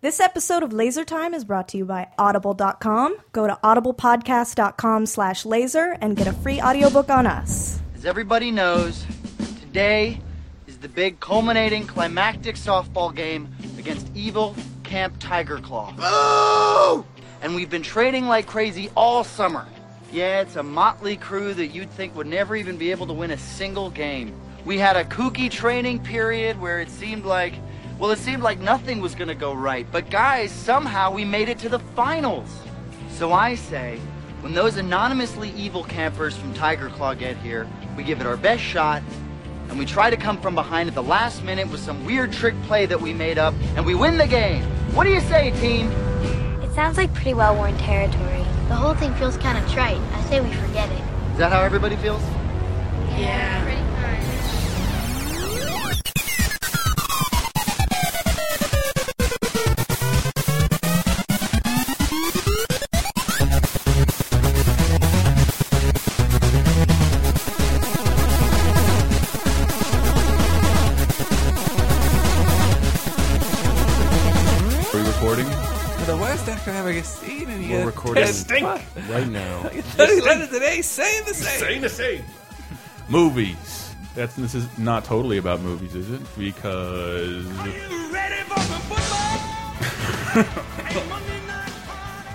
This episode of Laser Time is brought to you by Audible.com. Go to audiblepodcast.com slash laser and get a free audiobook on us. As everybody knows, today is the big culminating climactic softball game against evil Camp Tiger Claw. And we've been training like crazy all summer. Yeah, it's a motley crew that you'd think would never even be able to win a single game. We had a kooky training period where it seemed like, well, it seemed like nothing was gonna go right. But guys, somehow we made it to the finals. So I say, when those anonymously evil campers from Tiger Claw get here, we give it our best shot, and we try to come from behind at the last minute with some weird trick play that we made up, and we win the game. What do you say, team? It sounds like pretty well worn territory. The whole thing feels kind of trite. I say we forget it. Is that how everybody feels? Are we recording? For the worst economic scene We're in here. recording Stink. right now. today, same the same. Saying the same. movies. That's this is not totally about movies, is it? Because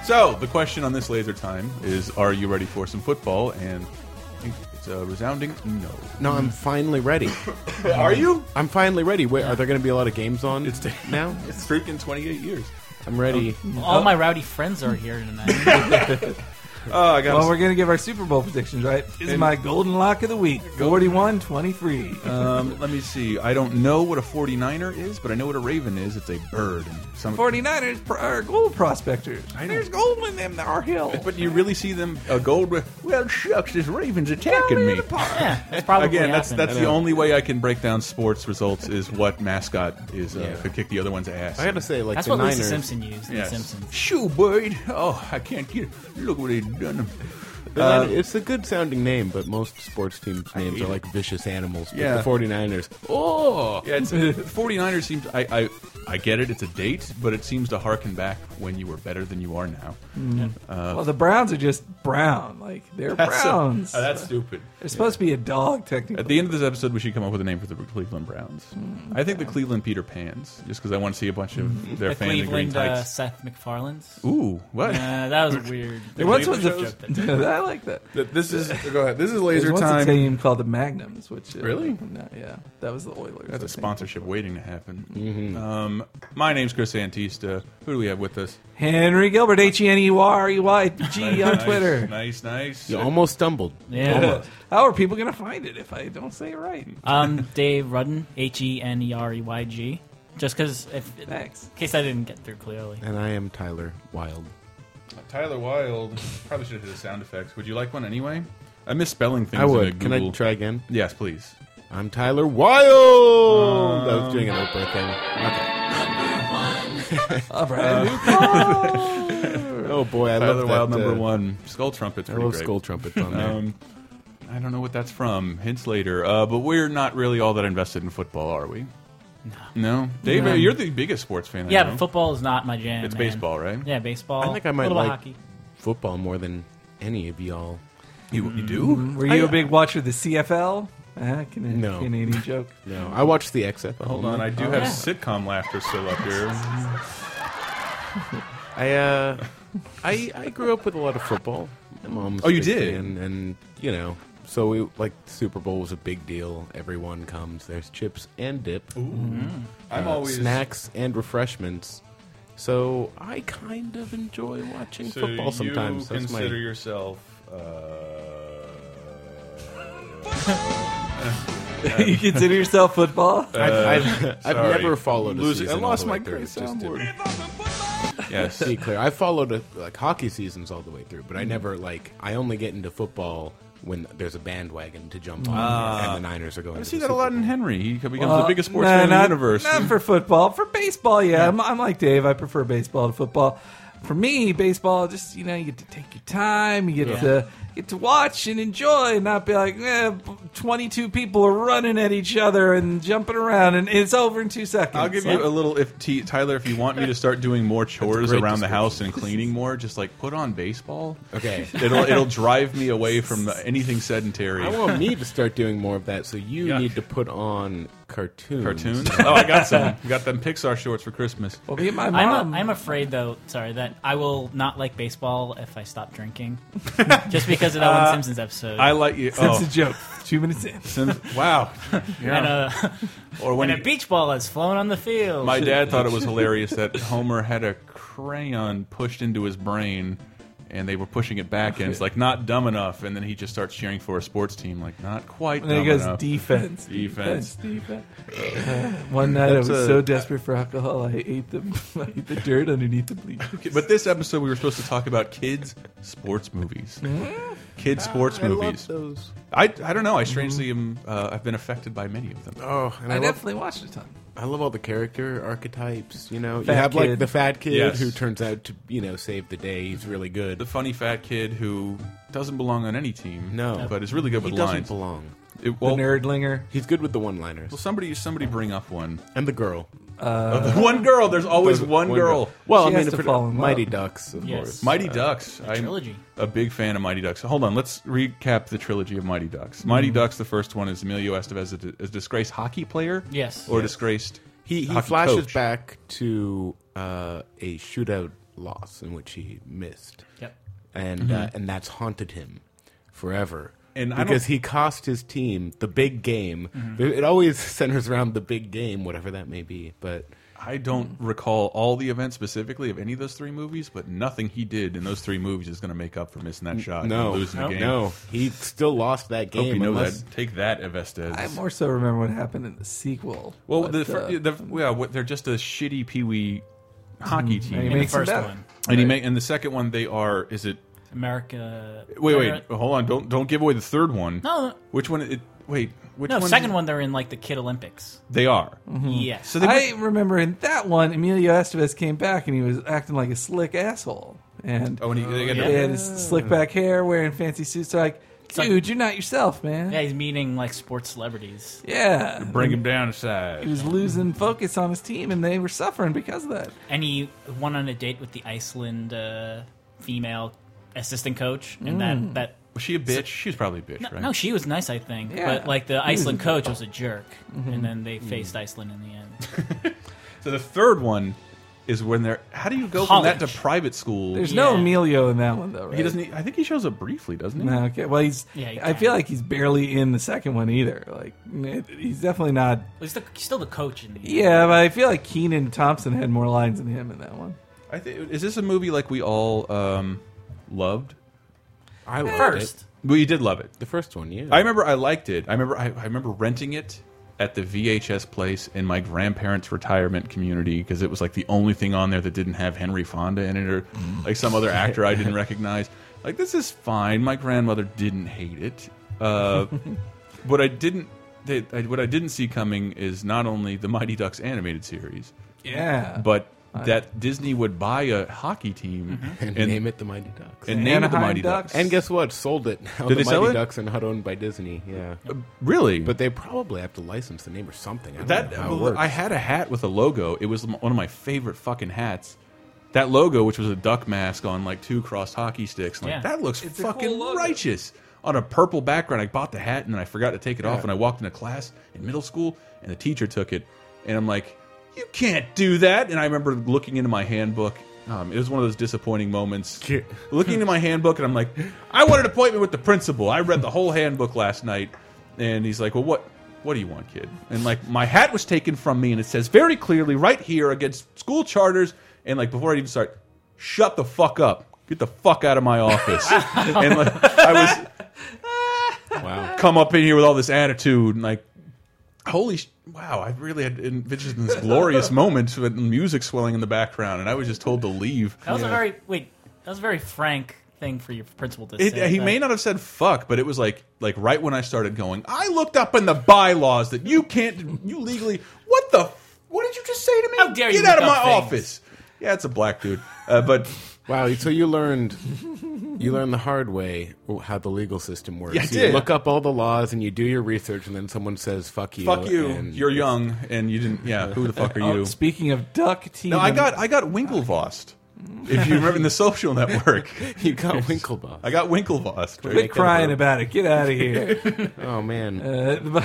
so the question on this laser time is: Are you ready for some football? And I think it's a resounding no. No, I'm finally ready. Are you? I'm finally ready. Wait, are there going to be a lot of games on? It's now. It's Um, freaking twenty-eight years. I'm ready. All my rowdy friends are here tonight. Oh, I got. Well, we're going to give our Super Bowl predictions, right? This is my golden lock of the week Uh, 41 23. um, let me see. I don't know what a 49er is, but I know what a raven is. It's a bird. And some 49ers pro- are gold prospectors. know. There's gold in them, our hill. But you really see them a gold. ra- Well, shucks, this raven's attacking me. yeah, that's probably Again, that's happened. that's the only way I can break down sports results is what mascot is uh, Yeah. could kick the other one's ass. I got to say, like That's the what Niners. Lisa Simpson used. in The Yes. Simpsons. Shoo, bird! Oh, I can't get. Look what they done. the Niners- it's a good sounding name, but most sports teams' Uh, names hate are like vicious animals. But Yeah. The 49ers. Oh, yeah. It's, 49ers seems. I, I I get it. It's a date, but it seems to harken back when you were better than you are now. well, the Browns are just brown. Like, they're Uh, That's a- Browns. oh, that's stupid. they're supposed to be a dog, technically. At the end of this episode, we should come up with a name for the Cleveland Browns. Mm. I think the Cleveland Peter Pans, just because I want to see a bunch Mm-hmm. of their The fans in green Cleveland uh, tights. Seth McFarlane's. Ooh, what? Uh, that was weird. there once was Cleveland a. I like that. Th- This is go ahead. This is There's laser once a time. team called the Magnums, which uh, Really? no, yeah, that was the Oilers. That's I a think. sponsorship waiting to happen. Mm-hmm. Um, my name's Chris Antista. Who do we have with us? Henry Gilbert, H E N E Y R E Y G on Nice, Twitter. Nice, nice. You almost stumbled. Yeah. How are people going to find it if I don't say it right? um, Dave Rudden, H E N E R E Y G. Just because, if in Thanks. case I didn't get through clearly. And I am Tyler Wild. Uh, Tyler Wilde. Probably should have his sound effects. Would you like one anyway? I miss spelling things. I In a would. Can Google. I try again? Yes, please. I'm Tyler Wild. I Um, was doing an Oprah thing. Okay. All right. Oh boy, I Tyler love Wilde, that, number uh, one. Skull trumpets. I pretty love great. skull trumpets on there. Um, I don't know what that's from. Hints later. Uh, but we're not really all that invested in football, are we? No. No, Dave, you're the biggest sports fan. I yeah, know. but football is not my jam. It's man. baseball, right? Yeah, baseball. I think I might a little like- hockey. Football more than any of y'all. You, you do? Um, Were you a big watcher of the CFL? Uh, Canadian, No. Canadian joke. No, I watched the XFL. Hold on, I do Oh, have yeah. sitcom laughter still up here. I uh, I I grew up with a lot of football. My mom's Oh, a you big did? fan, and you know, so we like Super Bowl was a big deal. Everyone comes. There's chips and dip, uh, I'm always snacks and refreshments. So I kind of enjoy watching So football sometimes. You That's consider my yourself. Uh, you consider yourself football? Uh, I've, I've, I've sorry. never followed a Losing- I season lost all the my way through, great just to soundboard. be yes. clear, I followed a, like hockey seasons all the way through, Mm. but I never like. I only get into football when there's a bandwagon to jump on, and the Niners are going. I to see the Ah. that a Super lot in Bowl. Henry. He becomes the Uh, Well, biggest sports no, fan in not- the universe. Not for football, for baseball. Yeah, I'm, I'm like Dave. I prefer baseball to football. for me, baseball just you know you get to take your time, you get Yeah. to get to watch and enjoy, and not be like eh, twenty two people are running at each other and jumping around, and it's over in two seconds. I'll give you a little. If T, Tyler, if you want me to start doing more chores great around the house and cleaning more, just like put on baseball. Okay. It'll it'll drive me away from the, anything sedentary. I want me to start doing more of that, so you Yuck. need to put on cartoons. cartoons. oh, I got some. Got them Pixar shorts for Christmas. Well, me and my I'm, mom. a, I'm afraid, though, sorry, that I will not like baseball if I stop drinking. Just because of that one Simpsons episode. Uh, I like you. that's Oh, a joke. Two minutes in. Sims- wow. and, Yeah. uh, or when and a you- beach ball has flown on the field. my dad thought it was hilarious that Homer had a crayon pushed into his brain. And they were pushing it back, and it's like not dumb enough. And then he just starts cheering for a sports team, like not quite. And then dumb he goes enough. defense, Defense. defense. One night I was That's a- so desperate for alcohol, I ate the I ate the dirt underneath the bleachers. Okay, But this episode, we were supposed to talk about kids' sports movies. Kids' sports Mm-hmm. I love Mm-hmm. movies. those. I, I don't know. I strangely am. Uh, I've been affected by many of them. Oh, and I, I love, definitely watched a ton. I love all the character archetypes. You know, Fat you have kid. like the fat kid Yes. who turns out to you know save the day. He's really good. The funny fat kid who doesn't belong on any team. No. but is really good he with doesn't lines. belong. It- The well, nerdlinger. He's good with the one-liners well, somebody somebody bring up one. and the girl. Uh, the one girl. There's always Those- one, girl. Well, She I has mean, to if it- fall in love. Mighty Ducks, of Yes. course. Mighty Ducks. I'm trilogy. a big fan of Mighty Ducks. Hold on, let's recap the trilogy of Mighty Ducks. Mighty Ducks. The first one is Emilio Estevez, a, a disgraced hockey player. Yes. or disgraced. He, he hockey flashes coach. back to uh, a shootout loss in which he missed, Yep. and Mm-hmm. uh, and that's haunted him forever. And I don't- because Mm-hmm. he cost his team the big game, There- it always centers around the big game, whatever that may be. But I don't Hmm. recall all the events specifically of any of those three movies, but nothing he did in those three movies is going to make up for missing that shot no, and losing no, the game. he still lost that Hope game. you know unless- that. Take that, Evestes. I more so remember what happened in the sequel. well, but, the, uh, fir- the, yeah, what, they're just a shitty Pee Wee hockey team. he In the makes it first better. one. and he ma- and the second one they are is it America. wait wait hold on don't don't give away the third one No, no. which one it wait which No, one second one, Mm-hmm. they're in, like, the Kid Olympics. they are Yes. so they I remember in that one, Emilio Estevez came back and he was acting like a slick asshole. And oh and he, they got he had his slick back hair, wearing fancy suits. Like, like- dude, you're not yourself, man. yeah, he's meeting, like, sports celebrities. Yeah. bring Mm-hmm. him down a He size was losing focus on his team, and they were suffering because of that. and he went on a date with the Iceland uh, female assistant coach, and that that. was she a bitch she was probably a bitch No, right no, she was nice, I think, Yeah. but like the He was Iceland a- coach was a jerk, and then they faced Iceland in the end. so the third one is when they're how do you go from that College. to private school There's no Yeah. Emilio in that one, though. Right? He doesn't. e, I think he shows up briefly, doesn't he? No, okay. Well, he's. Yeah, he I can. feel like he's barely in the second one either. Like, it- he's definitely not. He's, the, he's still the coach in the end. Yeah, but I feel like Keenan Thompson had more lines than him in that one. I think. Is this a movie like we all um, loved? I loved First, it. Well, you did love it. the first one, yeah. I remember I liked it. I remember I, I remember renting it at the VHS place in my grandparents' retirement community because it was like the only thing on there that didn't have Henry Fonda in it or Mm. like some other actor I didn't recognize. Like this is fine. My grandmother didn't hate it. Uh, what I didn't that I, what I didn't see coming is not only the Mighty Ducks animated series, Yeah, but that Disney would buy a hockey team and, and, name it the Mighty Ducks. and name it the Mm-hmm. Anaheim Mighty Ducks. Ducks. And guess what? Sold it. Now Did they the sell Mighty it? Ducks and not owned by Disney. Yeah. Really? But they probably have to license the name or something. I don't That know how it well, works. I had a hat with a logo. It was m- one of my favorite fucking hats. That logo, which was a duck mask on like two crossed hockey sticks, like Yeah. that looks It's a cool fucking logo. righteous on a purple background. I bought the hat and then I forgot to take it off, and I walked into class in middle school, and the teacher took it, and I'm like, "You can't do that!" And I remember looking into my handbook. Um, it was one of those disappointing moments. looking into my handbook, and I'm like, "I want an appointment with the principal." I read the whole handbook last night, and he's like, "Well, what?" what do you want, kid? And like, my hat was taken from me, and it says very clearly right here against school charters. And like, before I even start, shut the fuck up, get the fuck out of my office. and like, I was Wow. come up in here with all this attitude, and like, holy sh- wow, I really had envisioned this glorious moment with music swelling in the background, and I was just told to leave. that was a very wait. That was a very frank thing for your principal to It, say. he but- may not have said fuck, but it was like like right when I started going. I looked up in the bylaws that you can't you legally. What the? f- What did you just say to me? How dare you Get out of look my up things. office! Yeah, it's a black dude. Uh, but Wow, so you learned you learned the hard way how the legal system works. Yeah, I you did. look up all the laws and you do your research, and then someone says "fuck you." fuck you. and- You're young and you didn't. Yeah, who the fuck are Oh, you? speaking of duck team, No, I got I got Winklevossed. If you remember in the social network, You got Winklevoss. I got Winklevossed. Quit Right? crying about it. Get out of here. Oh man, uh,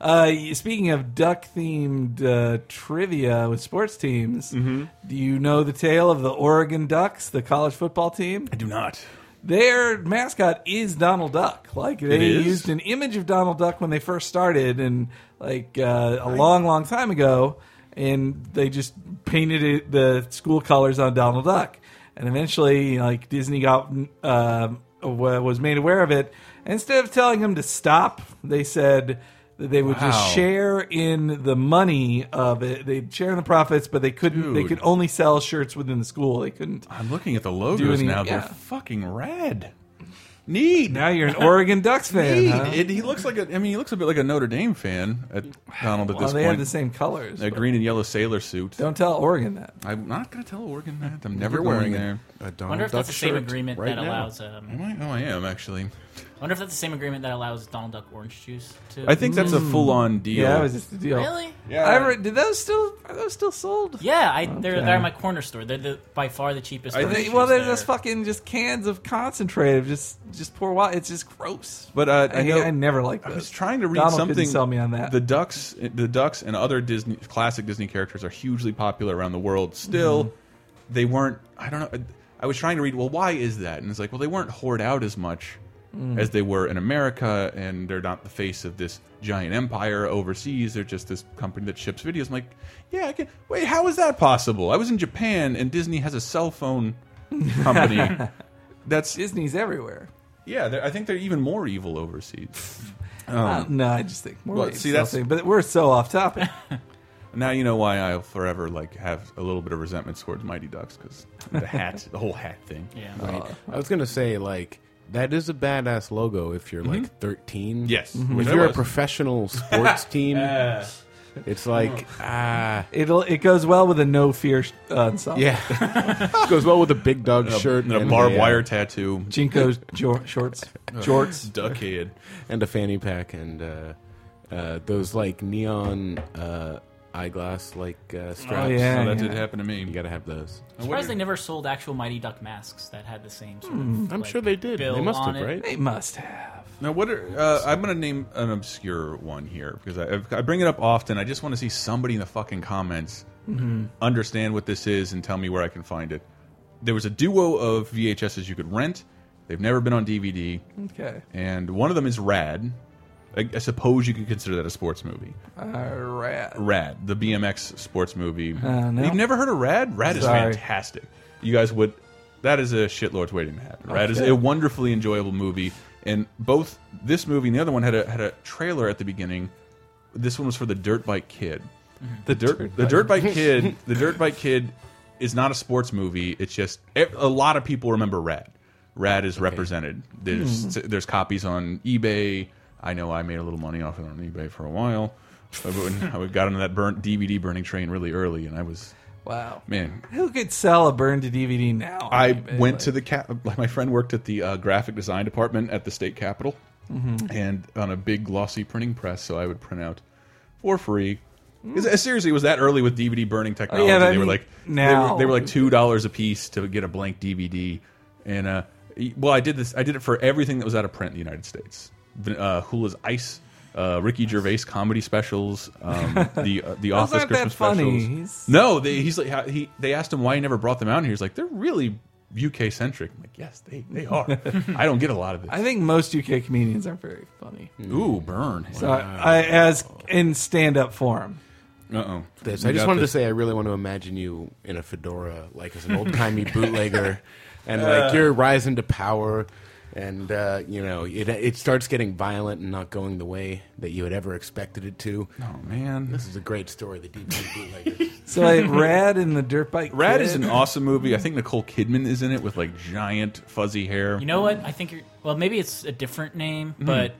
uh, speaking of duck themed uh, trivia with sports teams, Mm-hmm. do you know the tale of the Oregon Ducks, the college football team? I do not. Their mascot is Donald Duck. Like they is? used an image of Donald Duck when they first started, and like uh, a long, long time ago, and they just painted it, the school colors on Donald Duck, and eventually, like Disney got um, wa- was made aware of it. Instead of telling them to stop, they said that they would Wow. just share in the money of it. They'd share in the profits, but they couldn't. They Dude. could only sell shirts within the school. They couldn't. I'm looking at the logos any- now. They're yeah. fucking rad. Need. Now you're an Oregon Ducks fan. Need. huh? It, he looks like a. I mean, he looks a bit like a Notre Dame fan at Donald at Well, this Oh, they point. have the same colors. a but green and yellow sailor suit. Don't tell Oregon that. I'm not gonna tell Oregon that. I'm never you're going wearing there. a, a Donald I wonder if Duck that's the same shirt agreement right that now. allows. Um, Am I? Oh, I am actually. I wonder if that's the same agreement that allows Donald Duck orange juice to. I think that's a full-on deal. Yeah, that was just the deal. really. Yeah. I re- did those still are those still sold? Yeah, I, they're Okay. they're at my corner store. They're the, by far the cheapest. I orange think- juice Well, they're there. just fucking just cans of concentrate of just just pour water. It's just gross. But uh, I, I, hate- know, I never liked I those. was trying to read Donald couldn't something. Sell me on that. The ducks, the ducks, and other Disney classic Disney characters are hugely popular around the world. Still, Mm-hmm. they weren't. I don't know. I was trying to read. Well, why is that? And it's like, well, they weren't hoard out as much Mm. as they were in America, and they're not the face of this giant empire overseas. They're just this company that ships videos. I'm like, yeah, I can. Wait, how is that possible? I was in Japan, and Disney has a cell phone company. That's Disney's everywhere. yeah. they're- I think they're even more evil overseas. Uh, no, I just think more. Oh. well, waves see, than that's- something, but we're so off topic. Now you know why I'll forever like have a little bit of resentment towards Mighty Ducks because the hat, the whole hat thing. Yeah. I was gonna say like that is a badass logo if you're like 13. Mm-hmm. Yes, which if I you're a was. professional sports team, it's Mm. like ah It'll it goes well with a no fear sh- uh, ensemble. yeah, goes well with a big dog shirt and a barbed uh, wire tattoo, Jinko jor- shorts, jorts. duck head. and a fanny pack and uh, uh, those like neon uh, eyeglass like uh, straps. Oh, yeah. Oh, that did happen to me. You gotta have those. I'm surprised they never sold actual Mighty Duck masks that had the same sort of. I'm like, sure they did. They bill must on have, it. right? They must have. Now, what are uh, I'm going to name an obscure one here because I, I bring it up often. I just want to see somebody in the fucking comments understand what this is and tell me where I can find it. There was a duo of VHSs you could rent. They've never been on DVD, Okay. and one of them is Rad. I, I suppose you could consider that a sports movie. All right. Rad, the BMX sports movie. Uh, no. You've never heard of Rad? Rad is Sorry. fantastic. You guys would. That is a shitlord's waiting to happen. Rad is a wonderfully enjoyable movie, and both this movie and the other one had a had a trailer at the beginning. This one was for the Dirt Bike Kid. Mm-hmm. The dirt, the Dirt Bike Kid, the Dirt Bike Kid is not a sports movie. It's just ev- a lot of people remember Rad. Rad is represented. There's there's copies on eBay. I know I made a little money off it on eBay for a while. I would- I would- got into that burnt DVD burning train really early, and I was Wow. man. Who could sell a burn to DVD now? I mean, went like- to the cap. My friend worked at the uh, graphic design department at the state capitol, Mm-hmm. and on a big glossy printing press, so I would print out for free. 'Cause, uh, Seriously, it was that early with DVD burning technology? Mm. but I they were mean, like they, now- were, they were like two dollars a piece to get a blank DVD, and uh, y- well, I did this. I did it for everything that was out of print in the United States. V- Uh, Hula's Ice, uh, Ricky Gervais comedy specials, um, the uh, the Office aren't that Christmas funny. specials. He's- No, they, he's like how- he. They asked him why he never brought them out, and he was like, "They're really UK centric." I'm like, "Yes, they they are." I don't get a lot of this. I think most UK comedians are very funny. Ooh, burn. So I, I as in stand up form. uh oh. This. I just wanted to say I really want to imagine you in a fedora, like as an old timey bootlegger, and like you're rising to power, and uh, you know it, it starts getting violent and not going the way that you had ever expected it to. Oh man. This is a great story, the deep bootlegger. So like Rad and the Dirt Bike. Rad Kid. is an awesome movie. I think Nicole Kidman is in it with like giant fuzzy hair. You know what? I think you're. Well, maybe it's a different name, but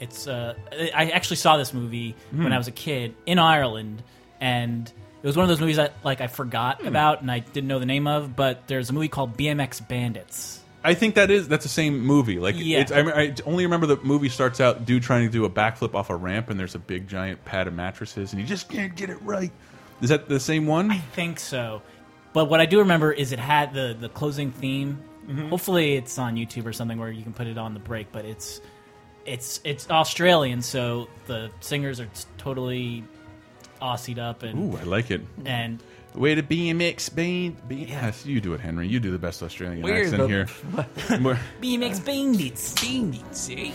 it's. Uh, I actually saw this movie when I was a kid in Ireland, and It was one of those movies that like I forgot about and I didn't know the name of, but there's a movie called BMX Bandits. I think that is that's the same movie. Like, Yeah. it's, I, rem- I only remember the movie starts out dude trying to do a backflip off a ramp, and there's a big giant pad of mattresses, and he just can't get it right. Is that the same one? I think so. But what I do remember is it had the the closing theme. Mm-hmm. Hopefully it's on YouTube or something where you can put it on the break, but it's it's it's Australian, so the singers are t- totally Aussied up and Ooh, I like it. and Way to BMX, Bane. B- yes, you do it, Henry. You do the best Australian We're accent the- here. We're- BMX Bandits. Bandits, eh?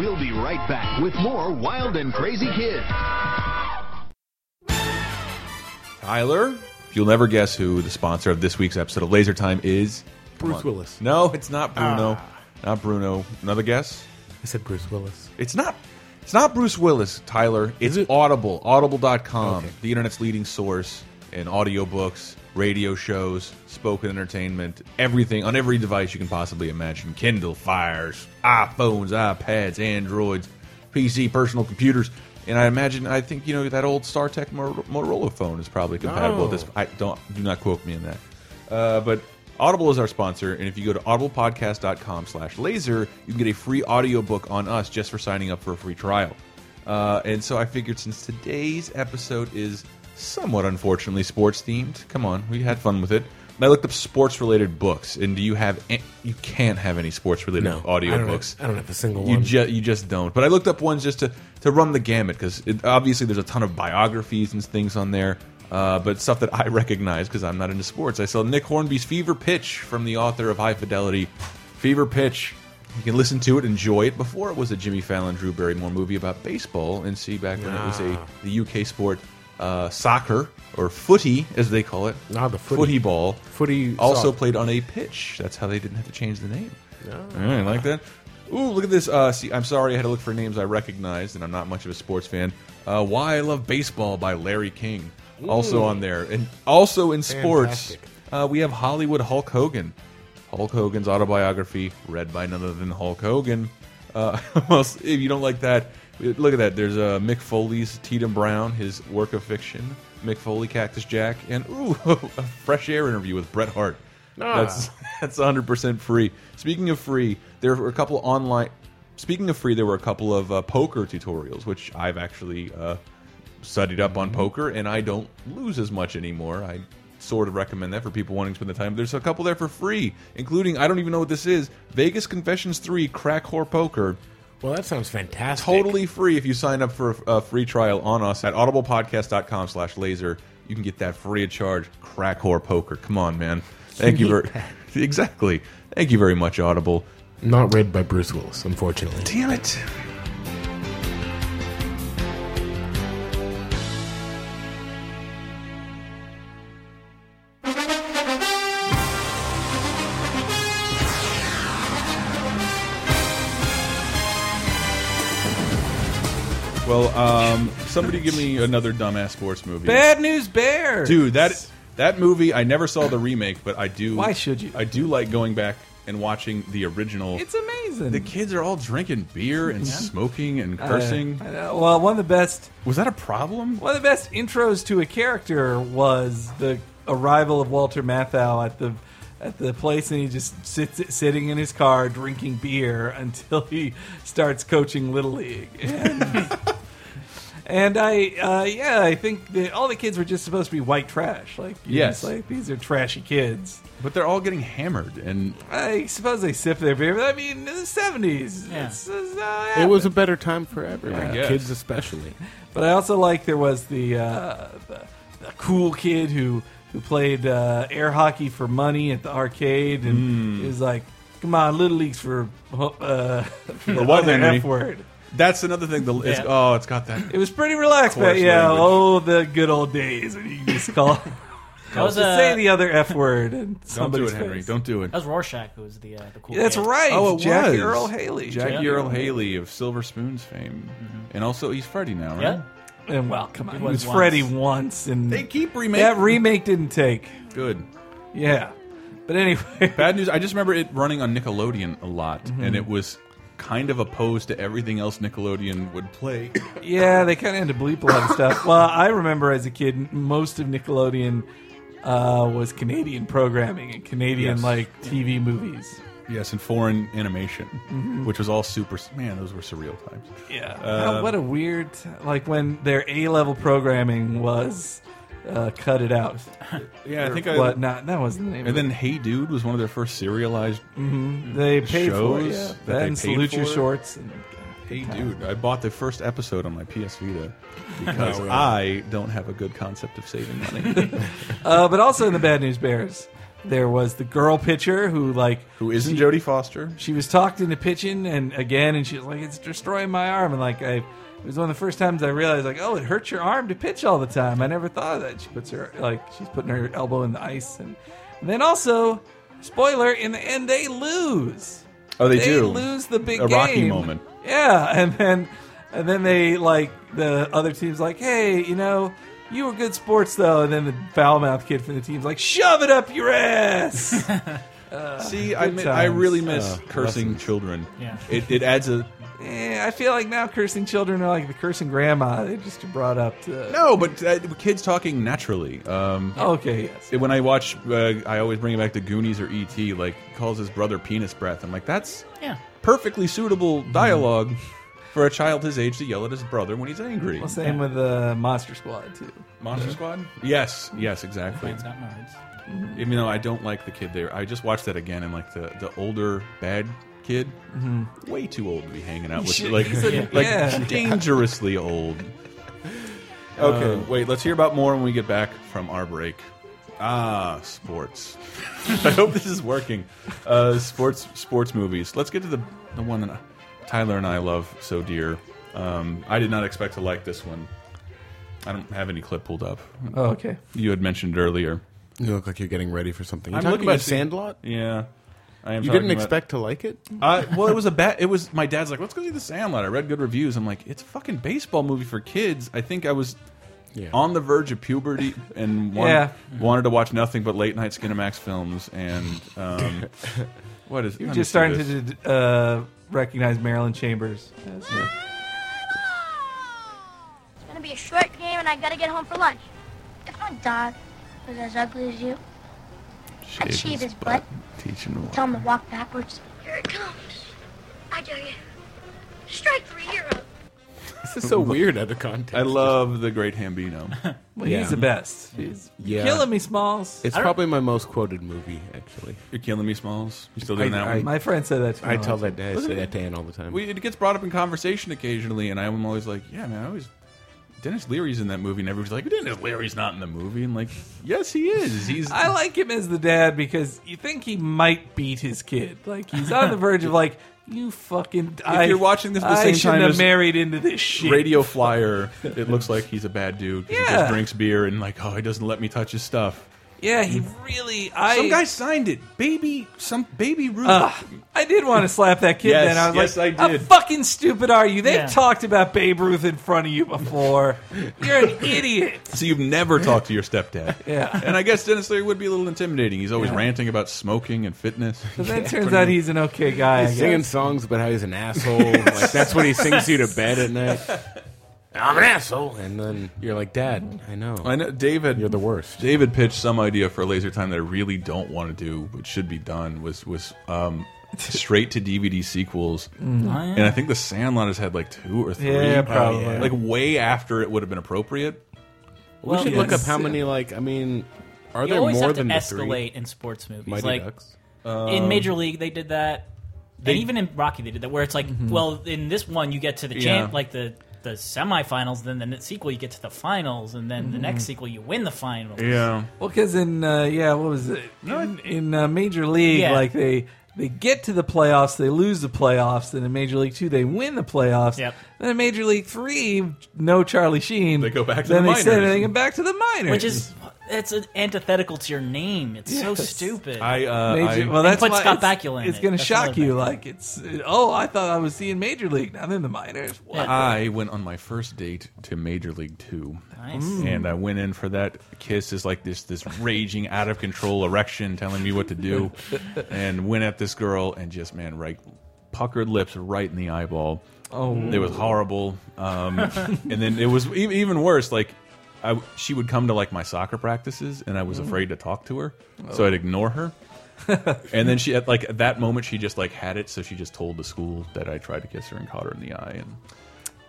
We'll be right back with more Wild and Crazy Kids. Tyler, you'll never guess who the sponsor of this week's episode of Laser Time is. Bruce Willis. Ah. No, it's not Bruno. Not Bruno. Another guess? I said Bruce Willis. It's not. It's not Bruce Willis, Tyler. It's Audible. Audible.com, the internet's leading source in audiobooks, radio shows, spoken entertainment, everything on every device you can possibly imagine. Kindle Fires, iPhones, iPads, Androids, PC, personal computers. And I imagine, I think you know that old StarTech Mot- Motorola phone is probably compatible. with This, No. I don't do not quote me on that. Uh, but Audible is our sponsor, and if you go to audiblepodcast.com slash laser, you can get a free audiobook on us just for signing up for a free trial. Uh, and so I figured since today's episode is somewhat unfortunately sports themed, come on, we had fun with it. I looked up sports related books, and do you have an you can't have any sports related No, I don't audiobooks. have- I don't have a single You one. ju- you just don't. But I looked up ones just to to run the gamut because obviously there's a ton of biographies and things on there, uh, but stuff that I recognize because I'm not into sports. I saw Nick Hornby's Fever Pitch from the author of High Fidelity. Fever Pitch. You can listen to it, enjoy it. Before it was a Jimmy Fallon, Drew Barrymore movie about baseball, and see back when it was a the UK sport. Uh, soccer or footy, as they call it. Ah, the footy. footy ball. Footy also soccer. played on a pitch. That's how they didn't have to change the name. Yeah, I like that. Ooh, look at this. Uh, see, I'm sorry I had to look for names I recognized, and I'm not much of a sports fan. Uh, Why I Love Baseball by Larry King, also on there, and also in sports, Fantastic. uh, we have Hollywood Hulk Hogan. Hulk Hogan's autobiography, read by none other than Hulk Hogan. Uh, almost- if you don't like that, look at that. There's uh, Mick Foley's Tatum Brown, his work of fiction. Mick Foley, Cactus Jack, and ooh, a fresh air interview with Bret Hart. That's that's 100 percent free. Speaking of free, there were a couple online. Speaking of free, there were a couple of uh, poker tutorials, which I've actually uh, studied up on poker, and I don't lose as much anymore. I sort of recommend that for people wanting to spend the time. There's a couple there for free, including I don't even know what this is: Vegas Confessions Three Crack Whore Poker. Well, that sounds fantastic. Totally free if you sign up for a, a free trial on us at audiblepodcast.com slash laser. You can get that free of charge. Crack whore poker. Come on, man. Thank you very exactly. Thank you very much, Audible. Not read by Bruce Willis, unfortunately. Damn it. Well, um, somebody give me another dumbass sports movie. Bad News Bears. Dude, that that movie I never saw the remake, but I do. Why should you? I do like going back and watching the original. It's amazing. The kids are all drinking beer and smoking and cursing. I know. well, one of the best Was that a problem? one of the best intros to a character was the arrival of Walter Matthau at the at the place, and he just sits sitting in his car drinking beer until he starts coaching little league. And, and I, uh, yeah, I think that all the kids were just supposed to be white trash. Like, you know, Yes. it's like these are trashy kids. But they're all getting hammered, and I suppose they sip their beer, but I mean, in the seventies, uh, Yeah. It was a better time for everyone, guess. kids especially. But I also like there was the uh, the, the cool kid who who played uh, air hockey for money at the arcade, and Hmm. it was like, "Come on, little leagues for uh, for what, other Henry? F word." that's another thing. The it's, Yeah. oh, it's got that. It was pretty relaxed, but Coarse yeah, language. oh, the good old days when you could just call. That was just uh, say the other F word and Don't do somebody's it, Henry. face. Don't do it. that was Rorschach who was the uh, the cool. That's kid. right. Oh, it Jackie was. Earl Haley. Jackie Jack- Earl Haley of Silver Spoons fame, and also he's Freddy now, right? Yeah. And well, come on, he was was once. Freddy once, and They keep that remaking. remake didn't take. Good. Yeah, but anyway. Mm-hmm. Bad news. I just remember it running on Nickelodeon a lot, and it was kind of opposed to everything else Nickelodeon would play. Yeah, they kind of had to bleep a lot of stuff. well, I remember as a kid, m- most of Nickelodeon uh, was Canadian programming and Canadian Yes. like TV movies. yes, and foreign animation, Mm-hmm. which was all super. Man, those were surreal times. Yeah, Wow, what a weird like when their A level programming was uh, cut it out. Yeah, I think I. What not? That wasn't the name. And of then Hey Dude was one of their first serialized Mm. it. they paid for it. shows Yeah. that they and paid salute your for? shorts. And, Hey, dude, I bought the first episode on my PS Vita because Oh, really? I don't have a good concept of saving money. uh, but also in the Bad News Bears, there was the girl pitcher who like Who isn't Jodie Foster? she was talked into pitching and again and she was like it's destroying my arm and like i it was one of the first times i realized like oh it hurts your arm to pitch all the time i never thought of that she puts her like she's putting her elbow in the ice and, and then also spoiler in the end they lose Oh, they, they do lose the big a Rocky game. moment. Yeah, and then and then they like the other team's like, hey, you know, you were good sports though. And then the foul mouth kid from the team's like, shove it up your ass. See, I good mi- I really miss times. cursing children. Yeah. It, it adds a Eh, I feel like now cursing children are like the cursing grandma. They just are brought up to. no, but uh, kids talking naturally. Um, Okay, yes. when I watch, uh, I always bring it back to Goonies or ET. Like calls his brother penis breath. I'm like, that's Yeah. perfectly suitable Mm-hmm. dialogue for a child his age to yell at his brother when he's angry. Well, same Mm-hmm. with uh, Monster Squad too. Monster Squad? Yes, yes, exactly. Mine's not mine. even though I don't like the kid there, I just watched that again and like the the older bad kid, Mm-hmm. way too old to be hanging out with, Shit, like he's a- like yeah. dangerously old. Uh, Okay, wait. Let's hear about more when we get back from our break. Ah, sports. I hope this is working. Uh, sports, sports movies. Let's get to the the one that Tyler and I love so dear. Um, I did not expect to like this one. I don't have any clip pulled up. Oh, okay. You had mentioned earlier. You look like you're getting ready for something. You I'm talking looking about at the- Sandlot? Yeah, I am. You talking didn't about- expect to like it? Uh, well, it was a bad. It was my dad's like, let's go see the Sandlot. I read good reviews. I'm like, it's a fucking baseball movie for kids. I think I was Yeah. on the verge of puberty and wanted, Yeah. wanted to watch nothing but late night Skinemax films. And um, what is? You're just starting to uh, recognize Marilyn Chambers. As, It's gonna be a short game, and I gotta get home for lunch. If my dog was as ugly as you, to achieve his butt. Teaching him. tell him to walk backwards. Here it comes. I dare you. Strike three hero. This is so weird out of context. I love the Great Hambino. well, Yeah. He's the best. He's Yeah. killing me, Smalls. It's probably my most quoted movie, actually. You're killing me, Smalls. You still doing I- that I- one? My friend said that. To me I tell once. that I say that to Ann all the time. we, it gets brought up in conversation occasionally, and I'm always like, yeah, man, I always. Dennis Leary's in that movie, and everybody's like, Dennis Leary's not in the movie. And like, yes, he is. He's. I like him as the dad because you think he might beat his kid. Like he's on the verge of like you fucking. If you're watching this at the I same shouldn't time have as married into this shit. radio flyer. It looks like he's a bad dude. 'cause He Yeah. just drinks beer and like, oh, he doesn't let me touch his stuff. Yeah, he really. I some guy signed it, baby. Some baby Ruth. Ugh, I did want to slap that kid. Yes, then I was yes, like, I did. "How fucking stupid are you? They've Yeah. talked about Babe Ruth in front of you before. You're an idiot." so you've never talked to your stepdad. Yeah. And I guess Dennis Leary would be a little intimidating. He's always ranting about smoking and fitness. But then it turns out he's an okay guy. I He's singing guess. songs about how he's an asshole. like that's what he sings you to bed at night. I'm an asshole, and then you're like, Dad, I know. I know David. You're the worst. David pitched some idea for a laser time that I really don't want to do, but should be done. Was was um, straight to DVD sequels, and I think The Sandlot has had like two or three, Mm. uh, Yeah, probably. like way after it would have been appropriate. We should look up yes. how many. Like, I mean, are You there always more have to than the three? escalate in sports movies. Mighty like Ducks. in Major League, they did that, and even in Rocky, they did that. Where it's like, well, in this one, you get to the champ, Yeah. like the the semifinals, then the next sequel, you get to the finals, and then the next sequel, you win the finals. Yeah, Well, because in uh, yeah, what was it? In, in uh, Major League, Yeah. like they they get to the playoffs, they lose the playoffs, and in Major League Two, they win the playoffs. Yep. Then in Major League Three, no Charlie Sheen. They go back to then the they send- minors. they go back to the minors, which is it's an antithetical to your name. It's so stupid. I, uh, I- Major, well, that's put why Scott it's- Bakula in It's it. going to That's shock another you. thing. Like it's oh, I thought I was seeing Major League. Now they're in the minors. What? I went on my first date to Major League Two, Nice. Mm. and I went in for that kiss is like this this raging out of control erection telling me what to do, and went at this girl and just man right puckered lips right in the eyeball. Oh. it was horrible. Um, and then it was e- even worse. Like, I, she would come to like my soccer practices, and I Mm. was afraid to talk to her, Oh. so I'd ignore her. and then she at like at that moment she just like had it, so she just told the school that I tried to kiss her and caught her in the eye, and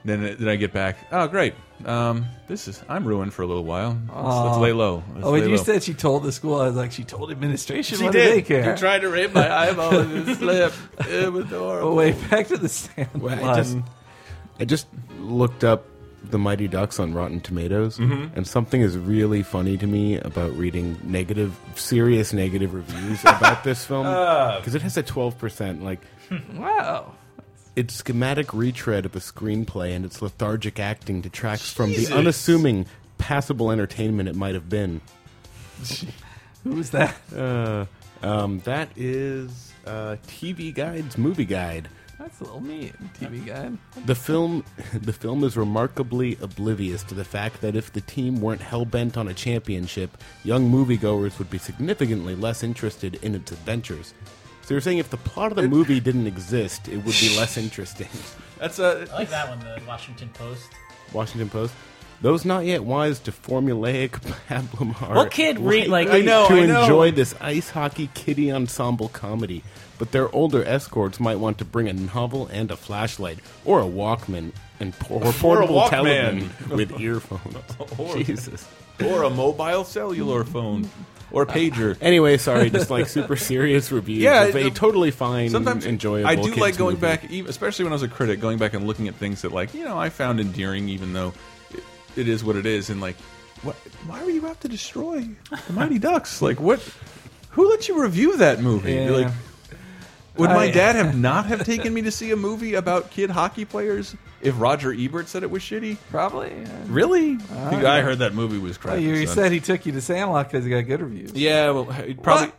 then then I get back. Oh great, um, this is I'm ruined for a little while. Let's, let's lay low. Let's Oh, when lay you low. said she told the school, I was like, she told administration. She what did. do they care? She tried to rape my eyeball and it slipped. It was horrible. Oh, wait, back to the sand. Well, I line. just, I just looked up the Mighty Ducks on Rotten Tomatoes, Mm-hmm. and something is really funny to me about reading negative, serious negative reviews about this film Uh. because it has a twelve percent. Like wow. its schematic retread of the screenplay and its lethargic acting detracts from the unassuming, passable entertainment it might have been. Who was that? Uh, um, that is uh, TV Guide's movie guide. That's a little mean, TV guy. The film, the film is remarkably oblivious to the fact that if the team weren't hell bent on a championship, young moviegoers would be significantly less interested in its adventures. So you're saying if the plot of the movie didn't exist, it would be less interesting. That's a I like that one, the Washington Post. Washington Post. Those not yet wise to formulaic pablum are What kid read, like- likely I know, to I know. enjoy this ice hockey kiddie ensemble comedy, but their older escorts might want to bring a novel and a flashlight, or a Walkman, and por- or portable Walkman. television with earphones. Or- Jesus. or a mobile cellular phone or a pager. Anyway, sorry, just like super serious reviews Yeah, of a the- totally fine, Sometimes enjoyable. I do kids like going movie. back, even- especially when I was a critic, going back and looking at things that like you know I found endearing, even though it, it is what it is, and like, what? Why were you out to destroy the Mighty Ducks? Like what? Who let you review that movie? Yeah. Like, would my I- dad have not have taken me to see a movie about kid hockey players if Roger Ebert said it was shitty? Probably. yeah. Really? Dude, I heard that movie was crap. Oh, you, you son. said he took you to Sandlot because he got good reviews. Yeah, well, it probably.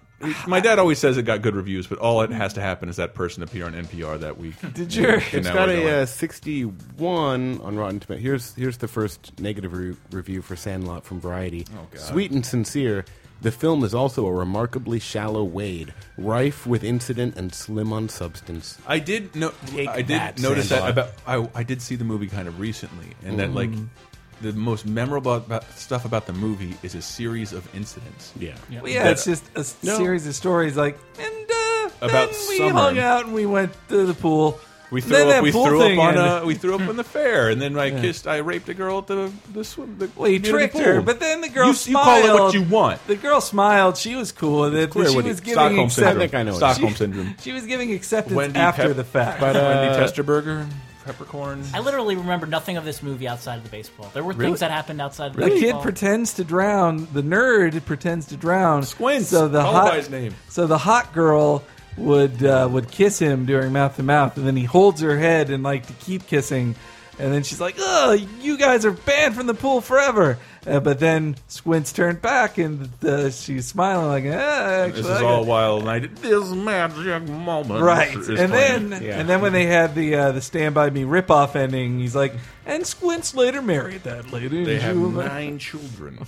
My dad always says it got good reviews, but all it has to happen is that person appear on NPR that week. Did you? And It's now got we're a going. uh, 61 on Rotten Tomatoes. Here's here's the first negative re- review for Sandlot from Variety. God. Sweet and sincere, the film is also a remarkably shallow wade, rife with incident and slim on substance. I did no, Take I did that, notice that about. Sandlot. I, I did see the movie kind of recently, and that like Mm-hmm. the most memorable about, stuff about the movie is a series of incidents. Yeah. Well, yeah, That- it's just a s- No. series of stories like, and uh, About then we summer. hung out and we went to the pool. We And threw then up. that We pool threw up thing on uh, ended. a. We threw up on the fair, and then I kissed. I raped a girl at the the swim. The Well, he near the tricked pool. her, but then the girl You- you smiled. call it what you want. The girl smiled. She was cool with it. Clear but she with it. was giving Stockholm accept- syndrome. I think I know it. Stockholm She- syndrome. She was giving acceptance Wendy after Pep- uh, the fact. uh, Wendy Testerberger, peppercorn. I literally remember nothing of this movie outside of the baseball. There were Really? things that happened outside of the the kid baseball. pretends to drown. The nerd pretends to drown. Squints. So the Call him hot, by his name. So the hot girl would uh, would kiss him during mouth to mouth, and then he holds her head and like to keep kissing, and then she's like, "Ugh, you guys are banned from the pool forever." Uh, but then Squints turned back, and uh, she's smiling like, ah, This actually, is I all got-" wild night. This magic moment. Right, is and playing. then Yeah. and then when they had the uh, the Stand By Me ripoff ending, he's like, "And Squints later married that lady." they and have she was like, nine children.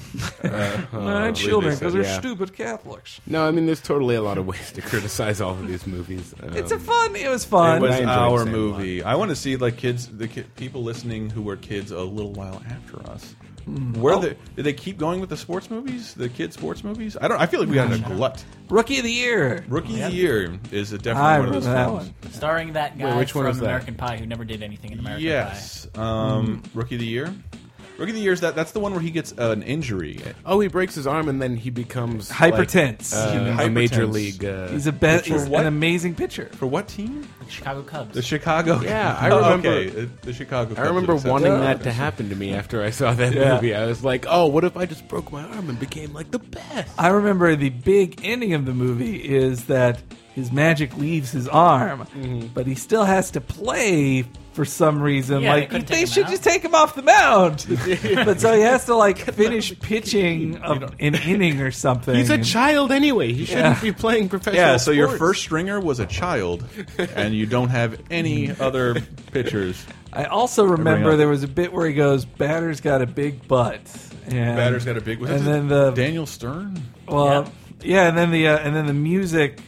nine believe they children said, because they're yeah. stupid Catholics. No, I mean, there's totally a lot of ways to criticize all of these movies. It's a Um, fun. It was It fun. was I enjoyed our Sandlot. movie. I want to see like kids, the ki people listening who were kids a little while after us. Hmm. Where Oh. the did they keep going with the sports movies, the kid sports movies? I don't. I feel like we had a glut. Rookie of the year. Rookie of the Year is a, definitely I one of remember those that films. one. starring that guy which one from is that? American Pie who never did anything in American Yes, um, Hmm. Rookie of the Year. Rookie of the Year is that. That's the one where he gets uh, an injury. Oh, he breaks his arm and then he becomes like, Hypertense. uh, a major Hypertense. league. Uh, He's a be- For he's what? an amazing pitcher. For what team? Pie. Chicago Cubs. The Chicago. Yeah, I Oh, remember- Okay, uh, the Chicago. I Cubs Oh. remember are accepted. wanting that to happen to me after I saw that Yeah. movie. I was like, "Oh, what if I just broke my arm and became like the best?" I remember the big ending of the movie is that his magic leaves his arm, but he still has to play for some reason. Yeah, they like they, couldn't take him should out. just take him off the mound. but so he has to like finish pitching a, an inning or something. He's a And- child anyway. He shouldn't be playing professional. Yeah, so your sports. first stringer was a child, and you don't have any other pitchers. I also Everybody remember else. there was a bit where he goes, "Batter's got a big butt." And, Batter's got a big. And then the Daniel Stern. Well, yeah, and then the uh, and then the music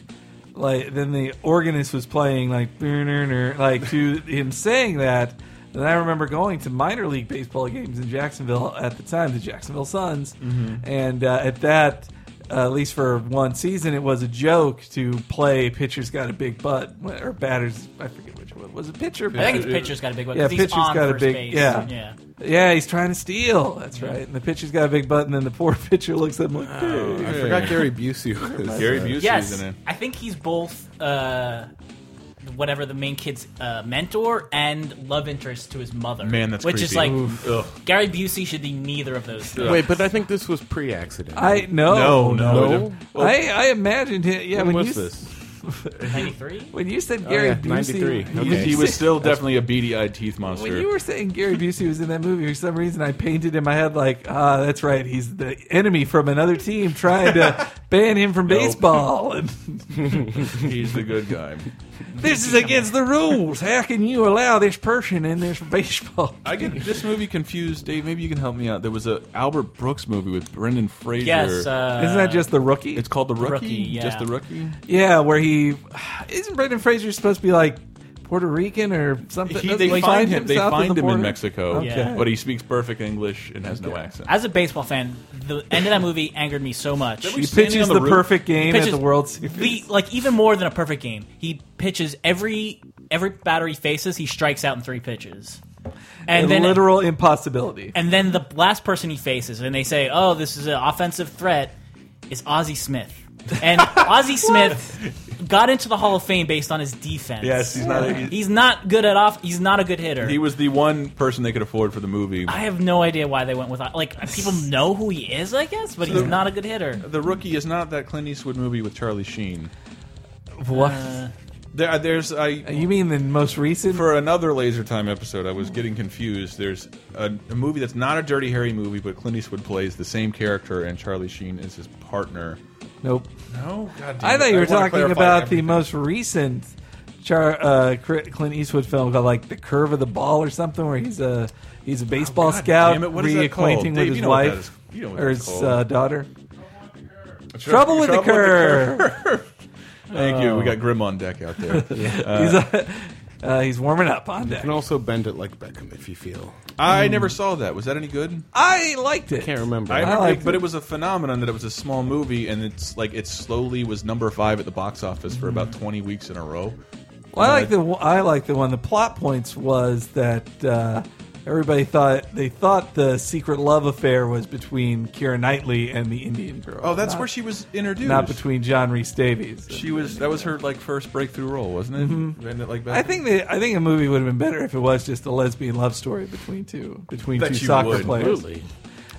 like then the organist was playing like "Burr-ner-ner," like to him saying that. And I remember going to minor league baseball games in Jacksonville at the time, the Jacksonville Suns, Mm-hmm. and uh, at that. Uh, at least for one season, it was a joke to play pitcher's got a big butt or batters. I forget which one was it. Pitcher, I think it's pitcher's got a big one. uh, yeah, 'cause he's pitcher's on got a first big base. yeah. yeah. Yeah, he's trying to steal. That's right. And the pitcher's got a big butt, and then the poor pitcher looks at him like, Uh, "Dude." I forgot Gary Busey was. Gary Busey's Yes, in it. I think he's both uh, whatever the main kid's uh, mentor and love interest to his mother. Man, that's which creepy. is like Ugh. Gary Busey should be neither of those. Things. Wait, but I think this was pre-accident. I no, No, Oh, no. No? I I imagined him. Yeah, when, when, was you, this? Ninety three. when you said Gary Oh, yeah, Busey, 93. you- Okay. He was still definitely a beady-eyed teeth When monster. you were saying Gary Busey was in that movie, for some reason I painted in my head like, ah, that's right, he's the enemy from another team trying to ban him from Nope. baseball. And He's the good guy. this is against the rules. How can you allow this person in this baseball? I get this movie confused, Dave. Maybe you can help me out. There was a Albert Brooks movie with Brendan Fraser. Yes, uh, Isn't that just the rookie? it's called The Rookie. Rookie, yeah. Just The Rookie. Yeah, where he isn't Brendan Fraser supposed to be like Puerto Rican or something? He, Doesn't they he find him. They south of find the him in border? Mexico, Okay. but he speaks perfect English and has no accent. as a baseball fan, the end of that movie angered me so much. He standing pitches on the the, roof. perfect game at pitches the World Series. The, like even more than a perfect game, he pitches every every batter he faces. He strikes out in three pitches, and a then literal impossibility. and then the last person he faces, and they say, "Oh, this is an offensive threat," is Ozzie Smith, and Ozzie Smith got into the Hall of Fame based on his defense. Yes, he's not. He, he's not good at off. He's not a good hitter. he was the one person they could afford for the movie. I have no idea why they went with like people know who he is, I guess, but he's not a good hitter. the Rookie is not that Clint Eastwood movie with Charlie Sheen. What? There, uh, there's I you mean the most recent? for another Laser Time episode. I was getting confused. There's a, a movie that's not a Dirty Harry movie, but Clint Eastwood plays the same character, and Charlie Sheen is his partner. nope. No, God damn I it. thought you were wanna talking clarify about the everything. most recent Char, uh, Cri- Clint Eastwood film called like The Curve of the Ball or something, where he's a he's a baseball Oh, God scout damn it, what is that called? reacquainting Dave, with you his know what that wife is. You know what or that's his called. uh, daughter. Trouble with the curve. Oh. Thank you. We got Grim on deck out there. he's, uh, uh, he's warming up on You deck. can also bend it like Beckham if you feel. I never saw that. Was that any good? I liked it. Can't remember. I remember, liked but it. it. was a phenomenon that it was a small movie, and it's like it slowly was number five at the box office for about twenty weeks in a row. Well, I like the I like the one. The plot points was that uh, everybody thought they thought the secret love affair was between Kira Knightley and the Indian girl. Oh, that's not, where she was introduced. not between John Reese Davies. She was. That was her like first breakthrough role, wasn't it? Wasn't it like Mm-hmm. I think that I think a movie would have been better if it was just a lesbian love story between two between Bet two you soccer would. players.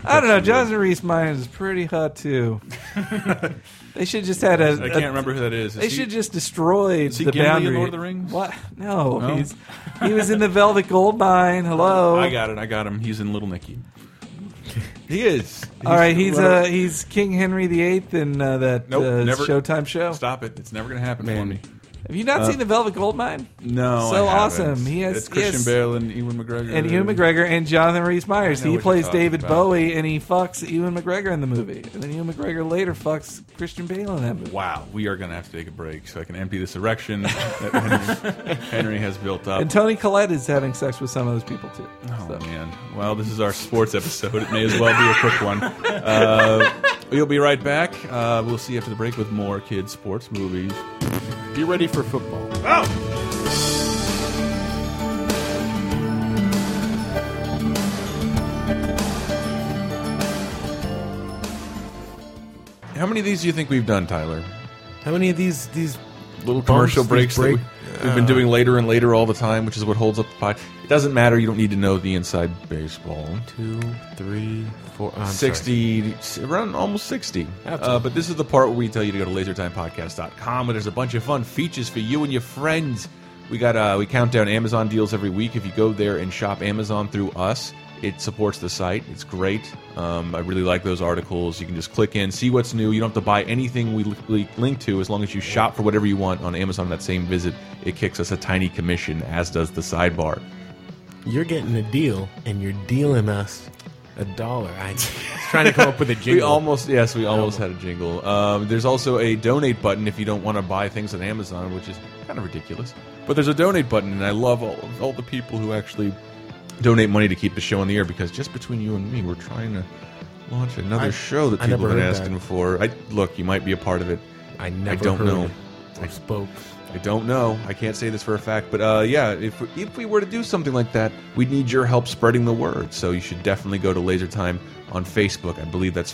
I don't know. John Reese Myers is pretty hot too. they should just had a. I can't remember who that is. They should just destroy he the Gimli in boundary. Lord of the Rings? What? No, No? he's he was in the Velvet Goldmine. Hello. I got it. I got him. He's in Little Nicky. he is. All right, he's uh, he's King Henry VIII in uh, that Nope, uh, never- Showtime show. Stop it! It's never going to happen for Man. me. Have you Uh, not seen the Velvet Goldmine? No, I so haven't. awesome. He has it's he has- Christian Bale and Ewan McGregor and Ewan McGregor and Jonathan Rhys Myers. I know He what plays you're talking David about. Bowie, and he fucks Ewan McGregor in the movie, and then Ewan McGregor later fucks Christian Bale in that movie. Wow, we are going to have to take a break so I can empty this erection that Henry, Henry has built up. And Tony Collette is having sex with some of those people too. Oh So- man! Well, this is our sports episode. It may as well be a quick one. Uh, we'll be right back. Uh, we'll see you after the break with more kids' sports movies. Be ready for football. How many of these do you think we've done, Tyler? How many of these these Little commercial Bumps, breaks these that we, have been doing later and later all the time, which is what holds up the pod. It doesn't matter. You don't need to know the inside baseball. two, three, four, oh, I'm 60 s- around almost 60 uh, but this is the part where we tell you to go to lasertimepodcast.com where there's a bunch of fun features for you and your friends we got uh, we count down amazon deals every week if you go there and shop amazon through us it supports the site it's great um, i really like those articles you can just click in see what's new you don't have to buy anything we li- li- link to as long as you shop for whatever you want on amazon that same visit it kicks us a tiny commission as does the sidebar Sorry. You're getting a deal, and you're dealing us a dollar. I trying to come up with a We jingle. almost yes, we almost had a jingle. Um, there's also a donate button if you don't want to buy things on Amazon, which is kind of ridiculous. But there's a donate button, and I love all all the people who actually donate money to keep the show on the air because just between you and me, we're trying to launch another I- show that I people never have been heard that. asking for. I look, you might be a part of it. I never. I don't heard know. Or spoke. I don't know. I can't say this for a fact, but uh, yeah, if if we were to do something like that, we'd need your help spreading the word. So you should definitely go to Laser Time on Facebook. I believe that's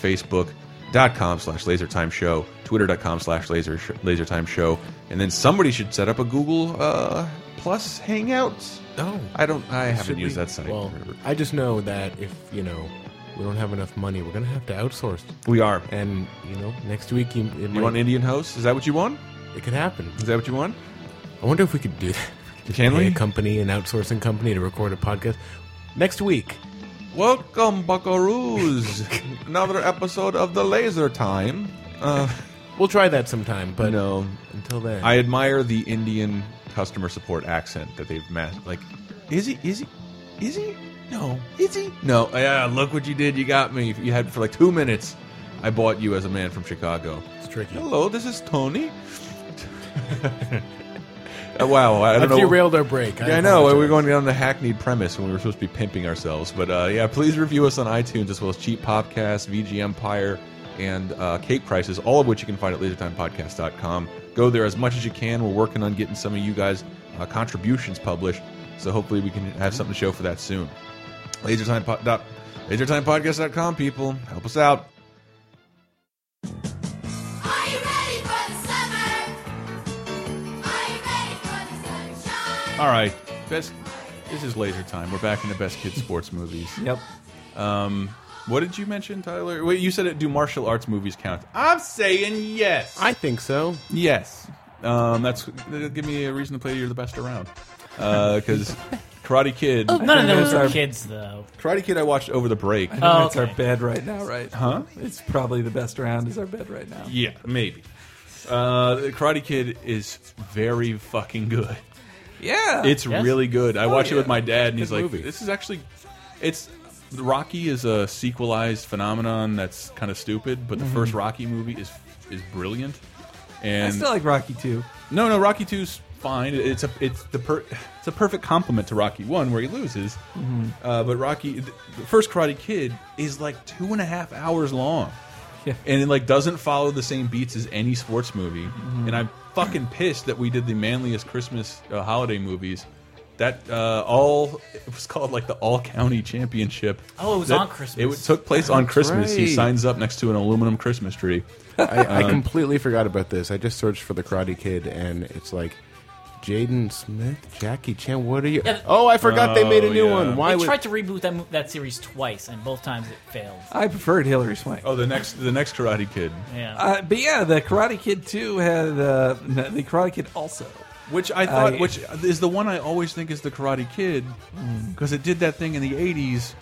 facebook.com slash lasertime show, twitter.com slash laser lasertime show, and then somebody should set up a Google uh, Plus Hangout. No, I don't. I haven't Oh. Should used we- that site. Well, I just know that if you know we don't have enough money, we're gonna have to outsource. we are. And you know, next week you, it, You might, want Indian hosts? Is that what you want? it could happen. Is that what you want? I wonder if we could do that. Can Pay we? a company, an outsourcing company, to record a podcast next week. Welcome, Buckaroos! Another episode of the Laser Time. Uh, We'll try that sometime. But no, until then, I admire the Indian customer support accent that they've mastered. Like, is he? Is he? Is he? No. Is he? No. Yeah. Look what you did. You got me. You had for like two minutes. I bought you as a man from Chicago. it's tricky. Hello, this is Tony. Uh, wow, I I've don't know. derailed our break. Yeah, I know. We apologize. were going down the hackneyed premise when we were supposed to be pimping ourselves. But uh, yeah, please review us on iTunes as well as Cheap Podcast, VG Empire, and uh, Cake Prices, all of which you can find at lasertimepodcast.com. Go there as much as you can. We're working on getting some of you guys' uh, contributions published. So hopefully we can have something to show for that soon. Lasertime dot- LasertimePodcast.com, people. Help us out. Are you ready for the summer? Are you ready for the sunshine? All right. Best, this is Laser Time. We're back in the best kids sports movies. Yep. What did you mention, Tyler? Wait, you said it. Do martial arts movies count? I'm saying yes. I think so. yes. Um, that's give me a reason to play. You're the best around. Because Karate Kid, None of those Those are are- kids, though. Karate Kid, I watched over the break. Oh, That's okay. our bed right now, right? Huh? It's probably the best round is our bed right now. Yeah, maybe. Uh, Karate Kid is very fucking good. Yeah. It's Yes? really good. I watch it Oh, yeah. with my dad, and Good he's like, movie. "This is actually, it's." Rocky is a sequelized phenomenon that's kind of stupid, but the first Rocky movie is is brilliant. I And still like Rocky too. No, no, Rocky Two's fine. It's a it's the per, it's a perfect complement to Rocky One where he loses. Mm-hmm. Uh, but Rocky, th- the first Karate Kid is like two and a half hours long, Yeah. and it like doesn't follow the same beats as any sports movie. Mm-hmm. And I'm fucking pissed that we did the manliest Christmas uh, holiday movies. That uh, all it was called like the All County Championship. Oh, it was That- on Christmas. It took place on Christmas. He right. signs up next to an aluminum Christmas tree. I, Um, I completely forgot about this. I just searched for the Karate Kid, and it's like Jaden Smith, Jackie Chan. What are you? Yeah. Oh, I forgot they made a new Oh, yeah. one. Why They would tried to reboot that mo- that series twice, and both times it failed. I preferred Hillary Swank. Oh, the next the next Karate Kid. Yeah. Uh, but yeah, the Karate Kid too had uh, no, the Karate Kid also. Which I thought, I- which is the one I always think is the Karate Kid, because it did that thing in the '80s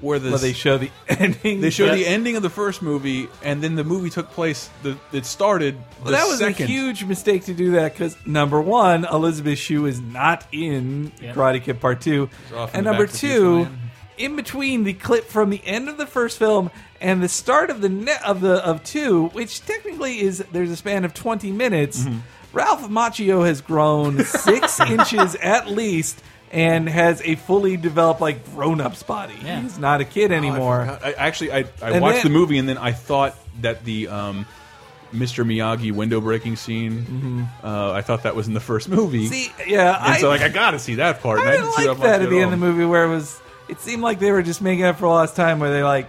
where the Well, they show the ending. they show the Yeah. ending of the first movie, and then the movie took place. The it started. Well, the that was second. a huge mistake to do that because number one, Elizabeth Shue is not in Yeah. Karate Kid Part Two, off in and the number Back to the Future two, land. in between the clip from the end of the first film and the start of the ne- of the of two, which technically is there's a span of twenty minutes. Mm-hmm. Ralph Macchio has grown six inches at least. And has a fully developed, like grown-up's body. Yeah. He's not a kid anymore. Oh, I, actually, I, I And watched then- the movie, and then I thought that the um, Mr. Miyagi window breaking scene. uh, I thought that was in the first movie. Mm-hmm. See, yeah, and I, so like I got to see that part. and I didn't see like much that at the end all. of the movie where it was. It seemed like they were just making up for lost time. Where they like,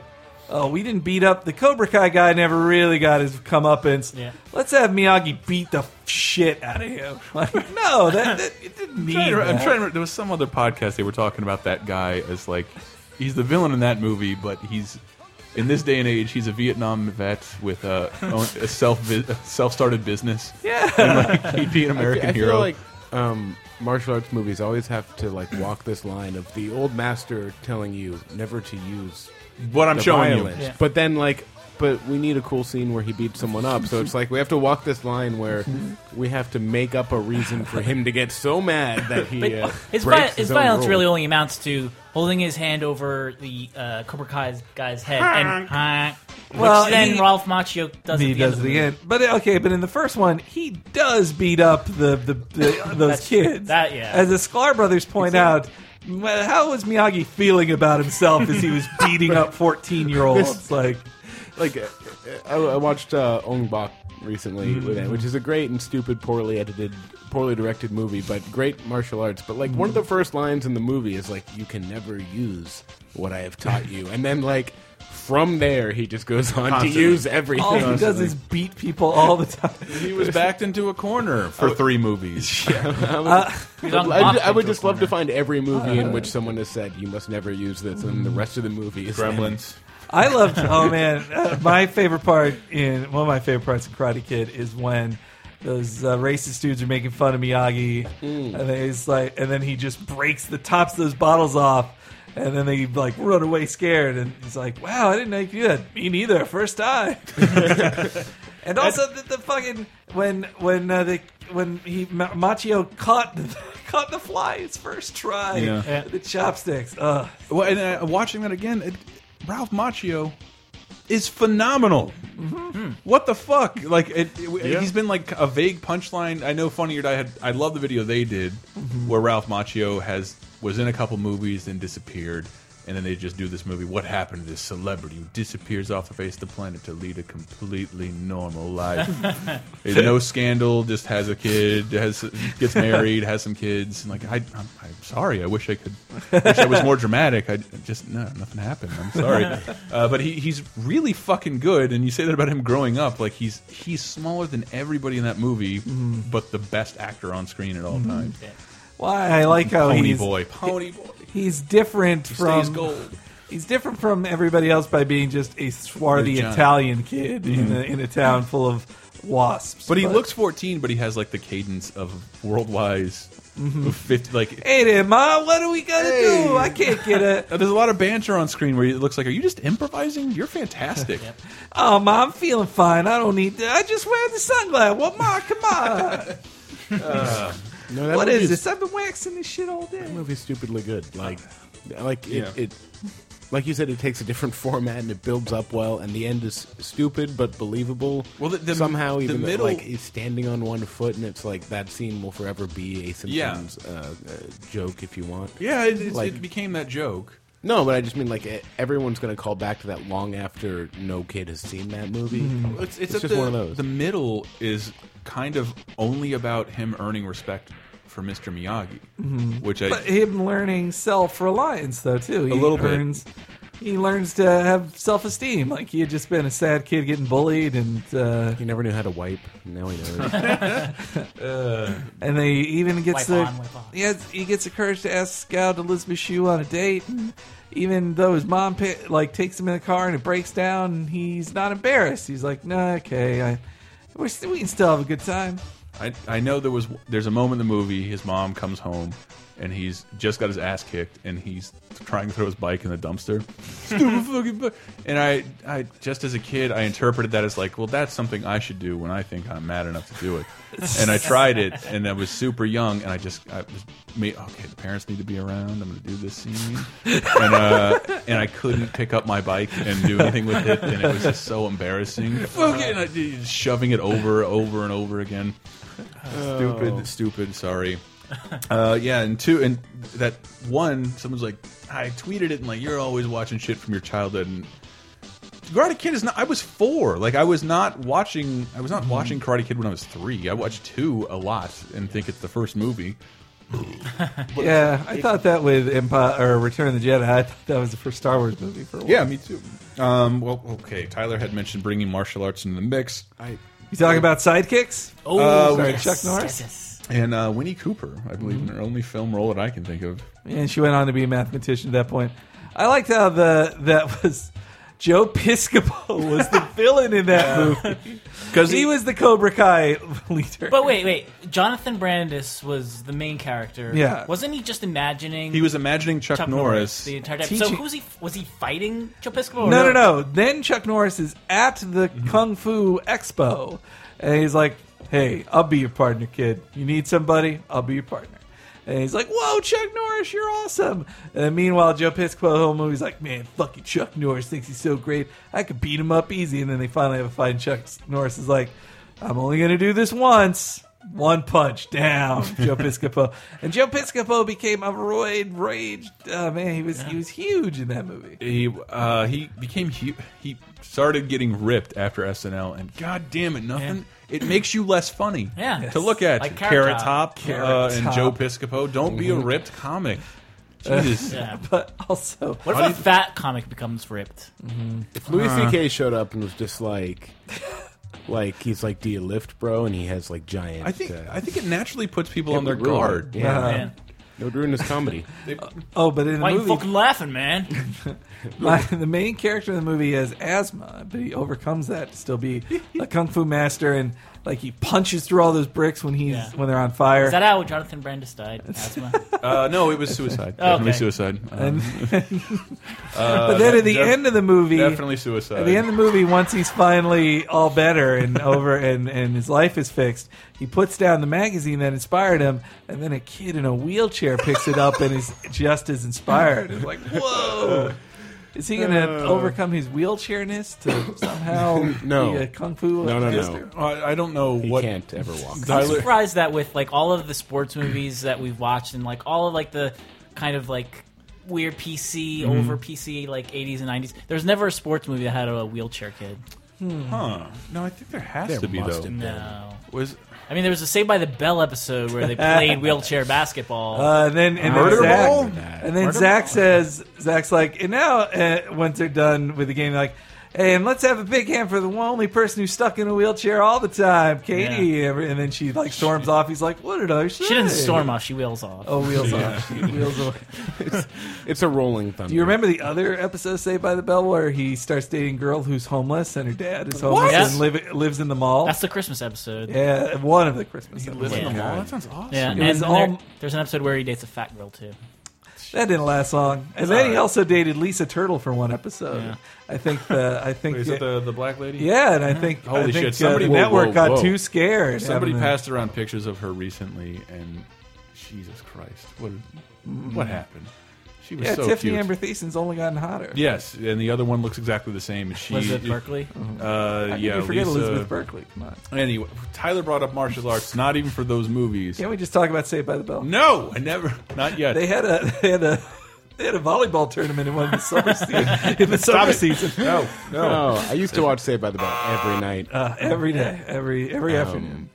oh, we didn't beat up the Cobra Kai guy. Never really got his comeuppance. Yeah. Let's have Miyagi beat the shit out of him. Like, no, that, that it didn't need. I'm trying, to, I'm that. trying to- There was some other podcast they were talking about that guy as like he's the villain in that movie, but he's in this day and age he's a Vietnam vet with a, a self self started business. Yeah. and like, he'd be an American I hero. feel like um, martial arts movies always have to like walk this line of the old master telling you never to use what I'm the showing violence, you. Yeah. but then like but we need a cool scene where he beats someone up. So it's like we have to walk this line where we have to make up a reason for him to get so mad that he But uh, his, vi- breaks his, his own violence rule. really only amounts to holding his hand over the uh, Cobra Kai guy's head and honk, which Well, then he- Ralph Macchio does. he at the does end of it the again. But okay, but in the first one, he does beat up the the, the those That's- kids. that, yeah. As the Sklar brothers point out, well, how was Miyagi feeling about himself as he was beating up fourteen year olds? Like, like uh, I, I watched uh, Ong Bak recently, Mm-hmm. which is a great and stupid, poorly edited, poorly directed movie, but great martial arts. But like one of the Mm-hmm. first lines in the movie is like, "You can never use what I have taught you," and then like from there he just goes on Constantly. to use everything. all he does is beat people all the time. He was backed into a corner for three movies. movie. He's on I, Mothman ju- I would to a just love to corner. find every movie Uh-huh. in which someone has said you must never use this, and the Mm-hmm. rest of the movie is Gremlins. I loved. Oh man, uh, my favorite part in one of my favorite parts of Karate Kid is when those uh, racist dudes are making fun of Miyagi, and then he's like, and then he just breaks the tops of those bottles off, and then they like run away scared, and he's like, "Wow, I didn't know you could do that. Me neither. First time." And also the, the fucking when when uh, the when he Ma- Machio caught the, caught the fly his first try Yeah. Yeah. the chopsticks. Ugh. Well, and uh, watching that again, it, Ralph Macchio is phenomenal. What the fuck? Like it, it- he's been like a vague punchline. I know Funny or Die had. I love the video they did where Ralph Macchio has was in a couple movies and disappeared. And then they just do this movie. What happened to this celebrity who disappears off the face of the planet to lead a completely normal life? There's no scandal. Just has a kid. Has gets married. Has some kids. And like I, I'm, I'm sorry. I wish I could. Wish I was more dramatic. I just no, nothing happened. I'm sorry. Uh, but he, he's really fucking good. And you say that about him growing up. Like he's he's smaller than everybody in that movie, but the best actor on screen at all times. Why I like how Pony he's boy. Pony boy. he's different Stays from gold. he's different from everybody else by being just a A swarthy giant. Italian kid in, a, in a town full of wasps. Mm-hmm. But he looks 14, but he has like the cadence of worldwise 50. Like Hey there, ma! What are we gonna do? I can't get it. Now, There's a lot of banter on screen where it looks like, are you just improvising? You're fantastic. Oh, ma! I'm feeling fine. I don't need. To, I just wear the sunglasses. Well, ma, come on. No, that what movie is this? I've been waxing this shit all day. That movie's stupidly good. Like, like it, Yeah. it, like you said, it takes a different format and it builds up well, and the end is stupid but believable. Well, the- the- somehow the even though, middle- like he's standing on one foot, and it's like that scene will forever be a Simpsons uh, uh, joke if you want. Yeah, it, it's, Like- it became that joke. No, but I just mean like e- everyone's going to call back to that long after no kid has seen that movie. Mm-hmm. It's, It's just the, one of those. The middle is kind of only about him earning respect for Mr. Miyagi, Mm-hmm. which I. But him learning self reliance though too. He A little bit. learns, He learns to have self esteem. Like he had just been a sad kid getting bullied, and uh, He never knew how to wipe. Now he knows. and they even gets Wipe the on, wipe on. he, has, he gets the courage to ask Scout Elizabeth Shue on a date. And even though his mom pa- like takes him in the car and it breaks down, he's not embarrassed. He's like, "No, okay, I, we're st- we can still have a good time." I, I know there was there's a moment in the movie his mom comes home and he's just got his ass kicked and he's trying to throw his bike in the dumpster stupid fucking bike and I I just as a kid I interpreted that as like well that's something I should do when I think I'm mad enough to do it and I tried it and I was super young and I just I was me okay the parents need to be around I'm gonna do this scene and uh, and I couldn't pick up my bike and do anything with it and it was just so embarrassing fucking I, just shoving it over over and over again stupid, stupid. Sorry. Uh, yeah, and two, and that one, someone's like, I tweeted it, and like, you're always watching shit from your childhood. And Karate Kid is not. I was four. Like, I was not watching. I was not watching Karate Kid when I was three. I watched two a lot and think it's the first movie. yeah, I thought that with Empire or Return of the Jedi, I thought that was the first Star Wars movie for a while. me too. Um, well, okay. Tyler had mentioned bringing martial arts into the mix, I, You talking about sidekicks? Oh, sorry, yes, Chuck Norris? yes, yes. and uh, Winnie Cooper, I believe, in her only film role that I can think of. and she went on to be a mathematician at that point. I liked how the that was Joe Piscopo was the villain in that movie because he was the Cobra Kai leader. But wait, wait. Jonathan Brandis was the main character. Yeah. Wasn't he just imagining? He was imagining Hmm. Chuck, Chuck Norris. the entire time. So Teaching- who's he? Was he fighting Joe Piscopo? or no, no, no. Then Chuck Norris is at the Kung Fu Expo, and he's like, "Hey, I'll be your partner, kid. You need somebody? I'll be your partner." And he's like, "Whoa, Chuck Norris, you're awesome!" And meanwhile, Joe Piscopo the whole movie's like, "Man, fucking Chuck Norris thinks he's so great. I could beat him up easy." And then they finally have a fight, and Chuck Norris is like, "I'm only gonna do this once." One punch down, Joe Piscopo, and Joe Piscopo became a roid rage. Oh man, he was he was huge in that movie. He uh, he became he, he started getting ripped after SNL, and god damn it, nothing. It makes you less funny. Yeah. to look at Like you. Carrot Carrot Top. Mm-hmm. Top, Carrot uh, Top. and Joe Piscopo. Don't be a ripped comic. Jesus, Yeah. but also What if a fat comic becomes ripped? If Louis Uh. C.K. showed up and was just like, like he's like, "Do you lift, bro?" and he has like giant. I think uh, I think it naturally puts people on it their would ruin guard. it. Yeah, man. it would ruin his comedy. uh, oh, but in the Why you movie, fucking laughing, man? my, the main character in the movie has asthma, but he overcomes that to still be a kung fu master, and like he punches through all those bricks when he's Yeah. when they're on fire. Is that how Jonathan Brandis died? Asthma. Uh, no, it was suicide. Definitely Okay. suicide. Um, but then at the Uh, def- end of the movie, definitely suicide. At the end of the movie, once he's finally all better and over and, and his life is fixed, he puts down the magazine that inspired him, and then a kid in a wheelchair picks it up and is just as inspired. It's like, whoa. Is he going to Uh. overcome his wheelchairness to somehow No. be a kung fu No, no, no. master? I, I don't know He what can't ever walk. I'm Tyler- surprised that with like all of the sports movies that we've watched and like all of like the kind of like weird PC over PC like 80s and 90s. There's never a sports movie that had a wheelchair kid. Huh. No, I think there has There to be must though. have been. No. Was I mean, there was a Saved by the Bell episode where they played wheelchair basketball. Uh, and then, and Murder then Zach, Ball? and then Zach says, Zach's like, and now uh, once they're done with the game, they're like, hey, and let's have a big hand for the one only person who's stuck in a wheelchair all the time, Katie. And then she like storms off. He's like, what did I say? she didn't storm off; she wheels off. Oh, wheels off. wheels off. It's a rolling thunder. Do you remember the other episode of Saved by the Bell where he starts dating a girl who's homeless and her dad is homeless What? and live, lives in the mall? That's the Christmas episode. Yeah, yeah, one of the Christmas. episodes. Listen to Yeah. Mall? oh, That sounds awesome. and was then all- there- there's an episode where he dates a fat girl too. That didn't last long. And then he also dated Lisa Turtle for one episode. Yeah. I think the I think Is it the the black lady? Yeah, and I think Holy I think, shit, uh, somebody- the whoa, network whoa, got whoa. too scared. Somebody having passed around pictures of her recently, and Jesus Christ, what what happened? She was the- Mm-hmm. Yeah, so Tiffany cute. Amber Thiesen's only gotten hotter. Yes, and the other one looks exactly the same. and She, Elizabeth Berkeley. Uh, How can yeah, Mm-hmm. we forget Lisa- Elizabeth Berkley. Come on. Anyway, Tyler brought up martial arts. Not even for those movies. Can't we just talk about Saved by the Bell? No, I never. Not yet. They had a they had a they had a volleyball tournament in one of the summer season in the summer season. no, no. Oh, I used to watch Saved by the Bell every night. Uh, every day, every every afternoon.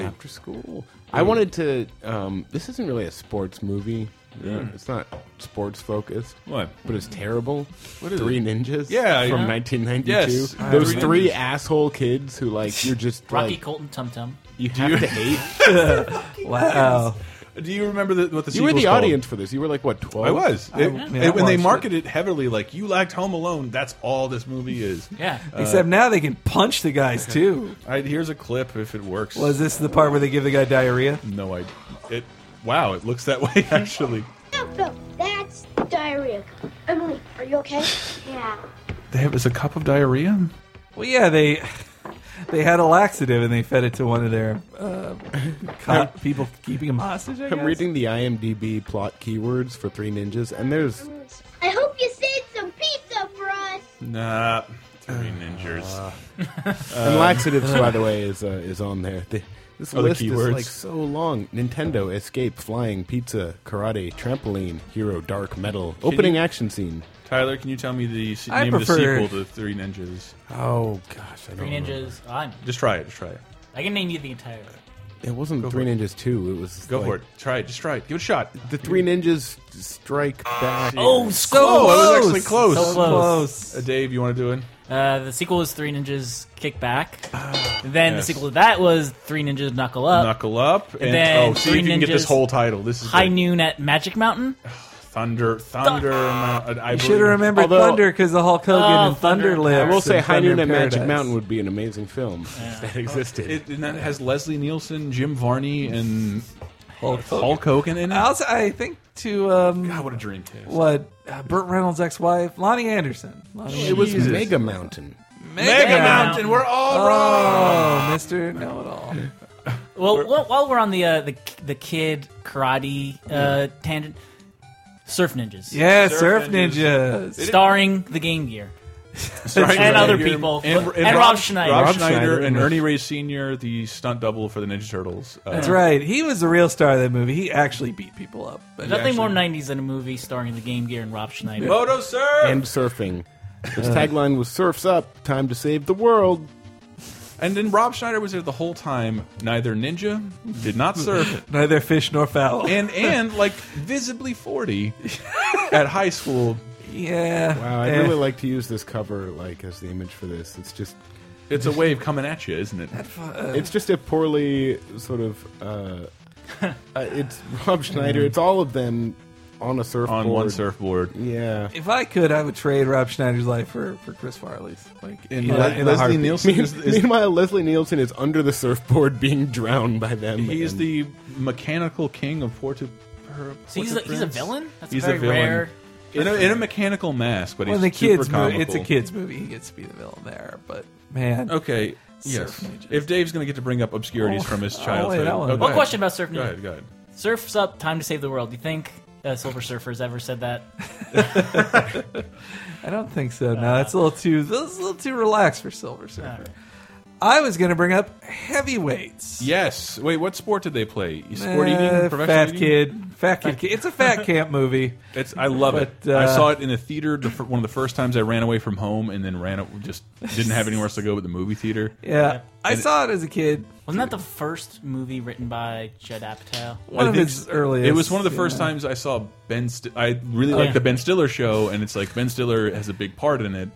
after school. I wanted to. Um, this isn't really a sports movie. It's not sports focused. What? But it's terrible. What is Three Ninjas? Yeah, from yeah. 1992. Yes. Those Three three Ninjas. asshole kids who like you're just Rocky like Colton Tum Tum. you have to hate. Wow. Do you remember the, what the You were sequel's the called? audience for this. You were like what 12? I was. It- yeah, it- I when they watched marketed it heavily, like you liked Home Alone. That's all this movie is. Yeah, Except now they can punch the guys too. I, here's a clip if it works. Was this the part where they give the guy diarrhea? No, I. It. Wow, it looks that way actually. No, no, that's diarrhea. Emily, are you okay? Yeah. There was a cup of diarrhea. Well, yeah, they they had a laxative and they fed it to one of their uh, co- people keeping them hostage. I I'm guess? reading the IMDb plot keywords for Three Ninjas, and there's I hope you saved some pizza for us. Nah, three ninjas. Uh, and laxatives. by the way, is uh, is on there. The, this Oh, the list is keywords. like so long. Nintendo, escape, flying, pizza, karate, trampoline, hero, dark metal, opening you- action scene. Tyler, can you tell me the se- I name of prefer- the sequel to Three Ninjas? Oh gosh, I Three don't remember. Ninjas. I'm, Just try it. Just try it. I can name you the entire. It wasn't Go Three for it. Ninjas Two. It was Go like, for it. Try it. Just try it. Give it a shot. The Three Ninjas Strike Back. Oh, so Oh, close. I was actually close. So close. Uh, Dave, you want to do it? Uh, the sequel was Three Ninjas Kick Back. then the Ah, yes. sequel to that was Three Ninjas Knuckle Up. Knuckle up and, Uh, then oh, see Three if you can get this Ninjas- whole title. This is High good. Noon at Magic Mountain. Thunder, Thunder. Mountain. I You believe- should have remembered Although- Thunder because the Hulk Hogan Oh, and Thunder, Thunder. lives. I will say and High Thunder in Noon at Magic Paradise. Mountain would be an amazing film if that existed. It, and that has Leslie Nielsen, Jim Varney, and Hulk Hogan. Hulk Hogan in it. I also, I think to um, God, what a dream cast. what uh, Burt Reynolds' ex-wife, Lonnie Anderson. Lonnie It was Jesus. Mega Mountain. Mega Mountain, we're all wrong. Oh, Mister Know It All. Well, while, while we're on the uh, the the kid karate uh, tangent, Surf Ninjas, Yeah, Surf, Surf Ninjas. starring the Game Gear. Starring And Rob other Schneider. people. and, And Rob Schneider. Rob, Rob Schneider, Schneider. and Ernie Ray Senior, the stunt double for the Ninja Turtles. Uh, That's right. He was the real star of that movie. He actually beat people up. But Nothing actually- more '90s than a movie starring the Game Gear and Rob Schneider. Moto Surf. and surfing. His tagline was "Surfs up, time to save the world." And then Rob Schneider was there the whole time. Neither ninja, did not surf, neither fish nor fowl. and and like visibly forty at high school. yeah. Wow, I'd Eh. really like to use this cover like as the image for this. It's just It's a wave coming at you, isn't it? it's just a poorly sort of uh, uh, it's Rob Schneider. It's all of them on a surfboard. On one surfboard. Yeah. If I could, I would trade Rob Schneider's life for, for Chris Farley's. Like in, Le- a- in a heartbeat. Nielsen is, is- Meanwhile, Leslie Nielsen is under the surfboard being drowned by them. he's and- the mechanical king of Porto. Her, So he's a, he's a villain. That's He's very a villain rare. in a, in a mechanical mask, but Well, he's in the super kids movie, comical. it's a kids movie. He gets to be the villain there, but man, Okay. Yes. Surf ninjas. If Dave's going to get to bring up obscurities Oh, from his oh, wait, childhood. that one. Oh, go One One ahead. question about Surf Go Ninjas. ahead. Go ahead. Surf's up, time to save the world. Do you think uh, Silver Surfer's ever said that? I don't think so. No, it's a little too that's a little too relaxed for Silver Surfer. I was going to bring up heavyweights. Yes. Wait. What sport did they play? Sport eating. Uh, Professional fat eating? kid, fat kid. It's a fat camp movie. It's I love it. But, uh, I saw it in the theater the, fir- one of the first times I ran away from home and then ran just didn't have anywhere else to go but the movie theater. Yeah, I saw it as a kid. Wasn't that the first movie written by Judd Apatow? One I of think his earliest. It was one of the first yeah. times I saw Ben. St I really like Oh, yeah. the Ben Stiller show, and it's like Ben Stiller has a big part in it.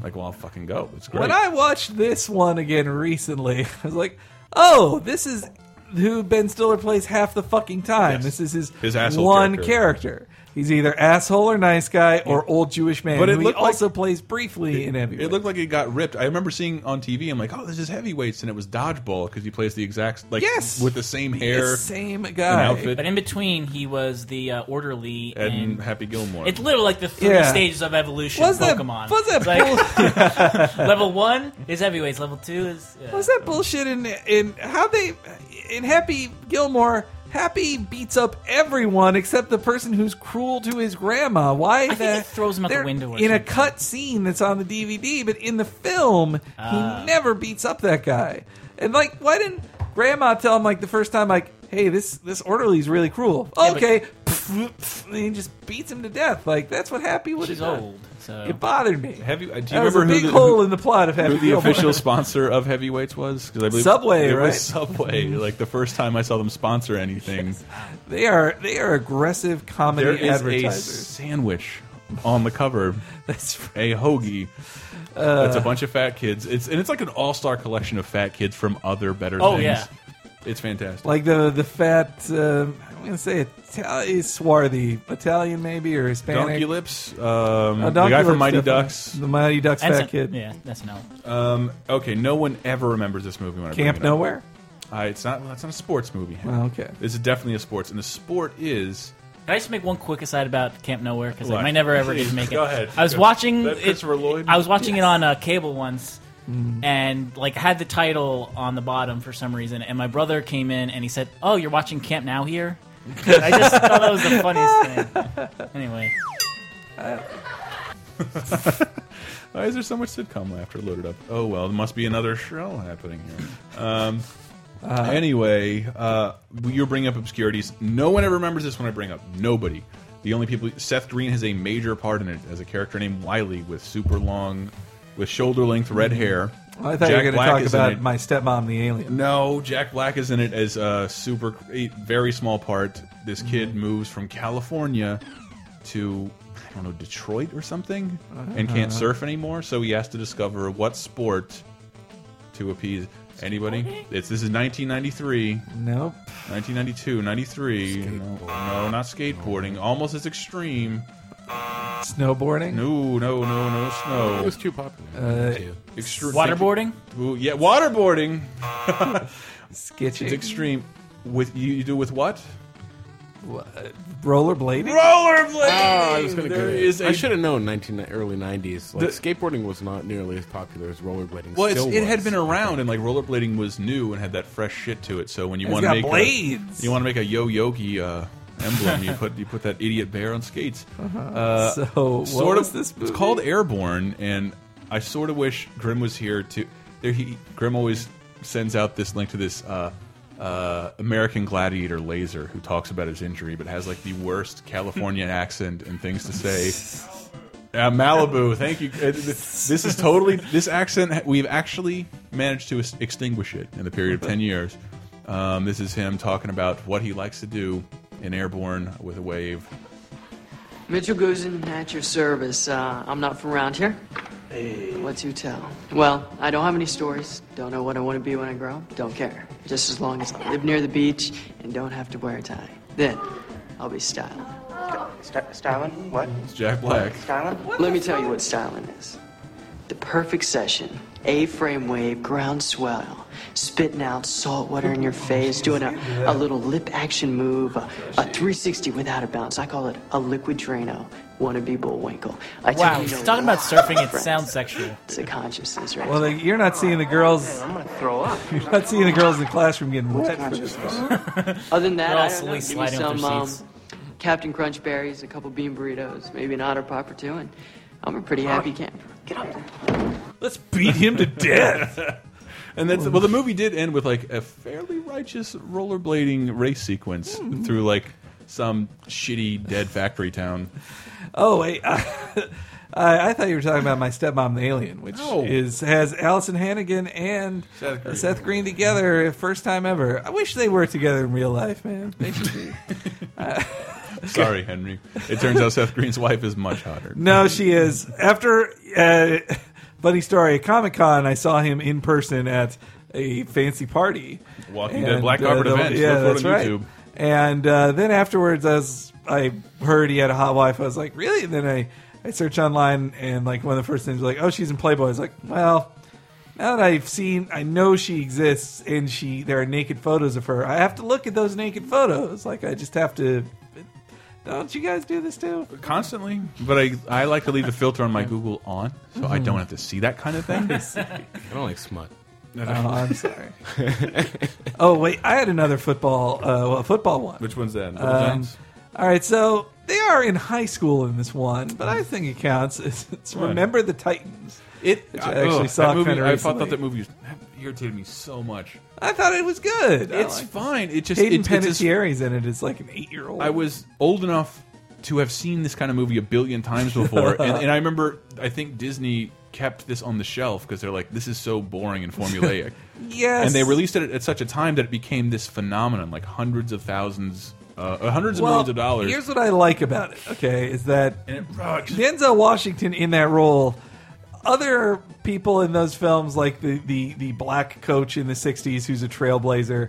Like, well, I'll fucking go. It's great. Mm-hmm. When I watched this one again recently, I was like, "Oh, this is who Ben Stiller plays half the fucking time. Yes. This is his, His asshole one character. character. He's either asshole or nice guy or old Jewish man. But it who he looked like- also plays briefly in Heavyweight. it looked like it got ripped. I remember seeing on TV. I'm like, oh, this is heavyweights, and it was dodgeball because he plays the exact like Yes! with the same The hair, same and guy. outfit, But Mm. in between, he was the uh, orderly and and. Happy Gilmore. it's literally like the three Yeah. stages of evolution Was of that Pokemon. was that It's like- bull- level one is heavyweights. Level two is. Yeah. was that bullshit in in how they in Happy Gilmore? Happy beats up everyone except the person who's cruel to his grandma. Why think the- he throws him out the they're window or in a something. cut scene that's on the DVD, but in the film Ah. he never beats up that guy. And like, why didn't Grandma tell him like the first time like, "Hey, this this orderly's really cruel." but- okay, pff, pff, and he just beats him to death. Like that's what Happy would have She's done. old. So It bothered me. Have you- uh, do you That was remember a who big the- hole who- in the plot of who Happy the Gilmore? official sponsor of heavyweights was? Because I believe Subway, it right? was Subway. Like the first time I saw them sponsor anything, They are they are aggressive comedy there is a advertisers. sandwich on the cover, That's right. a hoagie. Uh. That's a bunch of fat kids. It's and it's like an all star collection of fat kids from other better Oh, things. yeah. It's fantastic. like the the fat. Um, I'm gonna say Italian, swarthy Italian maybe or Hispanic. Donkey Lips, um, No, the Uh, Donkey guy from Lips, Mighty definitely. Ducks. The Mighty Ducks That's fat a- kid. Yeah, that's an element. Um, okay, no one ever remembers this movie when I bring Camp it up. Nowhere. Uh, it's not. Well, it's not a sports movie. Hank. Oh, okay. This is definitely a sports, and the sport is Can I just make one quick aside about Camp Nowhere because What? I might never ever Please, did make it. go ahead. I was Go- watching That it, Christopher Lloyd? I was watching it on uh, cable once, Mm-hmm. and like had the title on the bottom for some reason. And my brother came in and he said, "Oh, you're watching Camp Now here." And I just thought that was the funniest thing. Anyway, Why is there so much sitcom laughter loaded up? Oh well, there must be another show happening here. Um, Uh-huh. anyway, uh, you're bringing up obscurities. No one ever remembers this when I bring up. Nobody. The only people. Seth Green has a major part in it as a character named Wiley with super long, with shoulder length red hair. Mm-hmm. I thought you Jack were going to Black talk is in about it. my stepmom, the alien. No, Jack Black is in it as a super, a very small part. This kid moves from California to, I don't know, Detroit or something, and can't surf anymore. So he has to discover what sport to appease. Anybody? It's this is 1993, Nope. 1992, 93. No, no, not skateboarding. Almost as extreme. Snowboarding. No, no, no, no It snow. was too popular. Uh, too. Extre- Waterboarding? Ooh, yeah, waterboarding. Sketchy. It's extreme. With you, you do with what? Rollerblading. Rollerblading. Oh, I was going to go. There there. is a I should have known. 19 early 90s. Like The- skateboarding was not nearly as popular as rollerblading. Well, it's, still it had was. been around, and like rollerblading was new and had that fresh shit to it. So when you It's want to got make blades. A, you want to make a yo yogi uh, emblem, you put you put that idiot bear on skates. so what sort was of this movie? it's called Airborne, and I sort of wish Grimm was here to. There, he Grimm always sends out this link to this uh, uh, American Gladiator Laser, who talks about his injury, but has like the worst California accent and things to say. Uh, Malibu, thank you. Uh, th- This is totally this accent. We've actually managed to ex- extinguish it in the period of ten years. Um, this is him talking about what he likes to do in Airborne with a wave. Mitchell Guzan, at your service. Uh, I'm not from around here. What you tell? Well, I don't have any stories. Don't know what I want to be when I grow up. Don't care. Just as long as I live near the beach and don't have to wear a tie. Then I'll be styling. St- styling? What? It's Jack Black. Styling? Let me tell you what styling is. The perfect session, A-frame wave, ground swell, spitting out salt water in your face, doing a, a little lip action move, a, a 360 without a bounce. I call it a liquid Drano, wannabe Bullwinkle. I tell Wow, you no she's talking about lie, surfing. It friends. sounds sexual. It's a consciousness, right? Well, like, you're not seeing the girls. Oh, I'm gonna throw up. You're not seeing the girls in the classroom getting wet. For this. Other than that, They're all I don't know. slowly Give me sliding some off their um, seats. Captain Crunch berries, a couple bean burritos, maybe an otter pop or two, and I'm a pretty happy camper. Get up. Let's beat him to death. And that's well, the movie did end with like a fairly righteous rollerblading race sequence Hmm. through like some shitty dead factory town. Oh wait, I, I thought you were talking about my stepmom, the alien, which No. is has Allison Hannigan and Seth Green. together, first time ever. I wish they were together in real life, man. They should be. Sorry, Henry. It turns out Seth Green's wife is much hotter. No, she is. After uh, funny story, at Comic Con, I saw him in person at a fancy party. uh, Walking Dead Black Carpet event. Yeah, Look for it that's on right. YouTube. And uh, then afterwards, as I heard he had a hot wife, I was like, really? And then I I searched online, and like one of the first things was like, oh, she's in Playboy. I was like, well. Now that I've seen, I know she exists, and she there are naked photos of her. I have to look at those naked photos. Like I just have to. Don't you guys do this too? Constantly, but I I like to leave the filter on my Google on, so I Hmm. don't have to see that kind of thing. Uh, I don't like smut. Oh, I'm sorry. oh wait, I had another football, uh, well, football one. Which one's that? Um, all right, so they are in high school in this one, but I think it counts. It's, it's Right. Remember the Titans. it uh, I actually saw that movie, kinda I thought recently. thought that movie was- that irritated me so much. I thought it was good. I It's liked it. fine. It just it, Hayden it's as Penetieri's in it. It's like an eight-year-old. I was old enough to have seen this kind of movie a billion times before, and, and I remember I think Disney kept this on the shelf because they're like, this is so boring and formulaic, yes, and they released it at such a time that it became this phenomenon, like hundreds of thousands, uh, hundreds well, of millions of dollars. Here's what I like about it. Okay, is that and it, oh, it just- Denzel Washington in that role. Other people in those films, like the the, the black coach in the '60s, who's a trailblazer,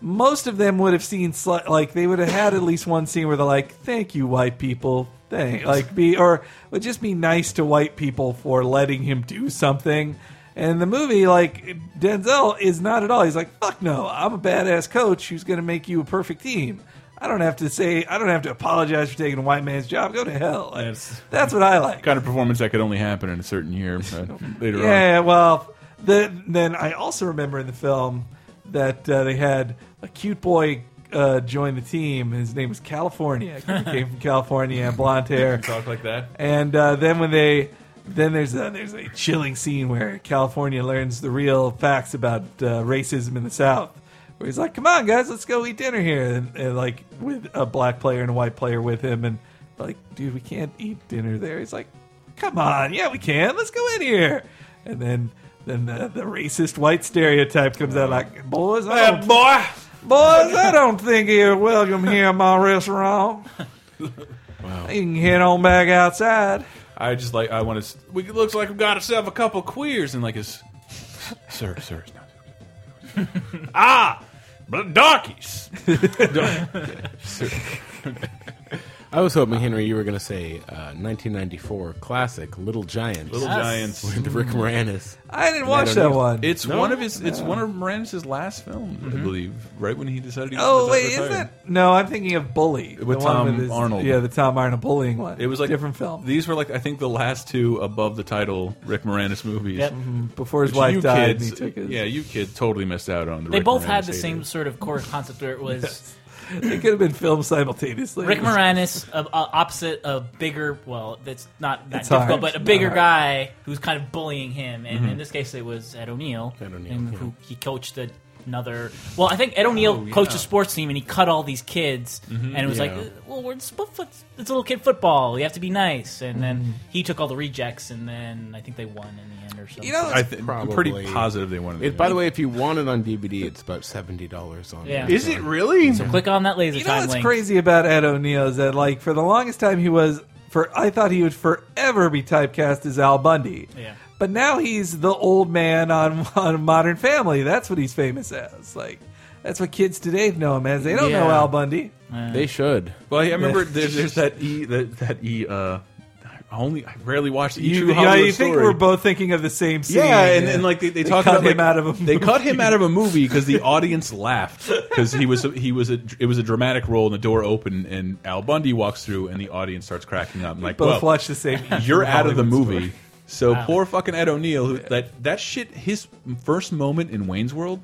most of them would have seen sli- like they would have had at least one scene where they're like, "Thank you, white people." Thank like be or would just be nice to white people for letting him do something. And the movie, like Denzel, is not at all. He's like, "Fuck no, I'm a badass coach who's going to make you a perfect team." I don't have to say. I don't have to apologize for taking a white man's job. Go to hell. Like, That's- that's what I like. kind of performance that could only happen in a certain year uh, later on. Yeah, well, the, then I also remember in the film that uh, they had a cute boy uh, join the team. His name was California. 'cause He came from California, had blonde hair. Talk like that. And uh, then when they then there's a, there's a chilling scene where California learns the real facts about uh, racism in the South. Where he's like, "Come on, guys, let's go eat dinner here," and, and like with a black player and a white player with him, and like, dude, we can't eat dinner there. He's like, "Come on, yeah, we can. Let's go in here." And then then the, the racist white stereotype comes out like, "Boys, I don't, boy. boys, I don't think you're welcome here in my restaurant. You can head on back outside." I just like I want to. We it looks like we got ourselves a couple queers, and like his sir, sir, it's not- ah, but donkeys. I was hoping, Henry, you were going to say uh, 1994 classic Little Giants. Little Yes. Giants. with Rick Moranis. I didn't And watch Adam that Neal. one. Mm-hmm. It's No? one of his. It's one of Moranis' last films, I believe. Right when he decided. He wanted Oh to wait, is retire. that no? I'm thinking of Bully With the one Tom his- Arnold. Yeah, the Tom Arnold bullying one. It was like different film These were like I think the last two above the title Rick Moranis movies. Yep. Mhm. before his Which wife you died. kids- and he took his, yeah, you kid totally missed out on. The They Rick both Moranis had the haters. same sort of core concept where it was They could have been filmed simultaneously. Rick Moranis, a, a- opposite a bigger, well, that's not that It's difficult, hard. but a It's bigger not guy who's kind of bullying him. And Mhm. in this case, it was Ed O'Neill, Ed O'Neill, and yeah. who he coached another. Well, I think Ed O'Neill Oh, yeah. coached a sports team, and he cut all these kids, Mhm. and it was like, Yeah. well, we're it's, foot- it's little kid football. You have to be nice. And then he took all the rejects, and then I think they won in the end or something. You know, I th- I'm pretty positive they wanted. It, by the way, if you want it on DVD, it's about seventy dollars on. Yeah. is it really? so click on that laser You know time what's link. crazy about Ed O'Neill is that like for the longest time he was for I thought he would forever be typecast as Al Bundy. Yeah. But now he's the old man on on Modern Family. That's what he's famous as. Like that's what kids today know him as. They don't know Yeah. Al Bundy. They should. Well, I remember there's, there's that e that that e. Uh, I only I rarely watched e You, True yeah, Hollywood you think Story. we're both thinking of the same scene? Yeah, and, and like they, they, talk cut about him like, out of a they cut him movie. out of a movie because the audience laughed because he was he was a it was a dramatic role and the door opened and Al Bundy walks through and the audience starts cracking up. I'm like, Both well, watch the same. you're out of the Hollywood movie. story. So Wow. poor fucking Ed O'Neill. Who, that that shit. His first moment in Wayne's World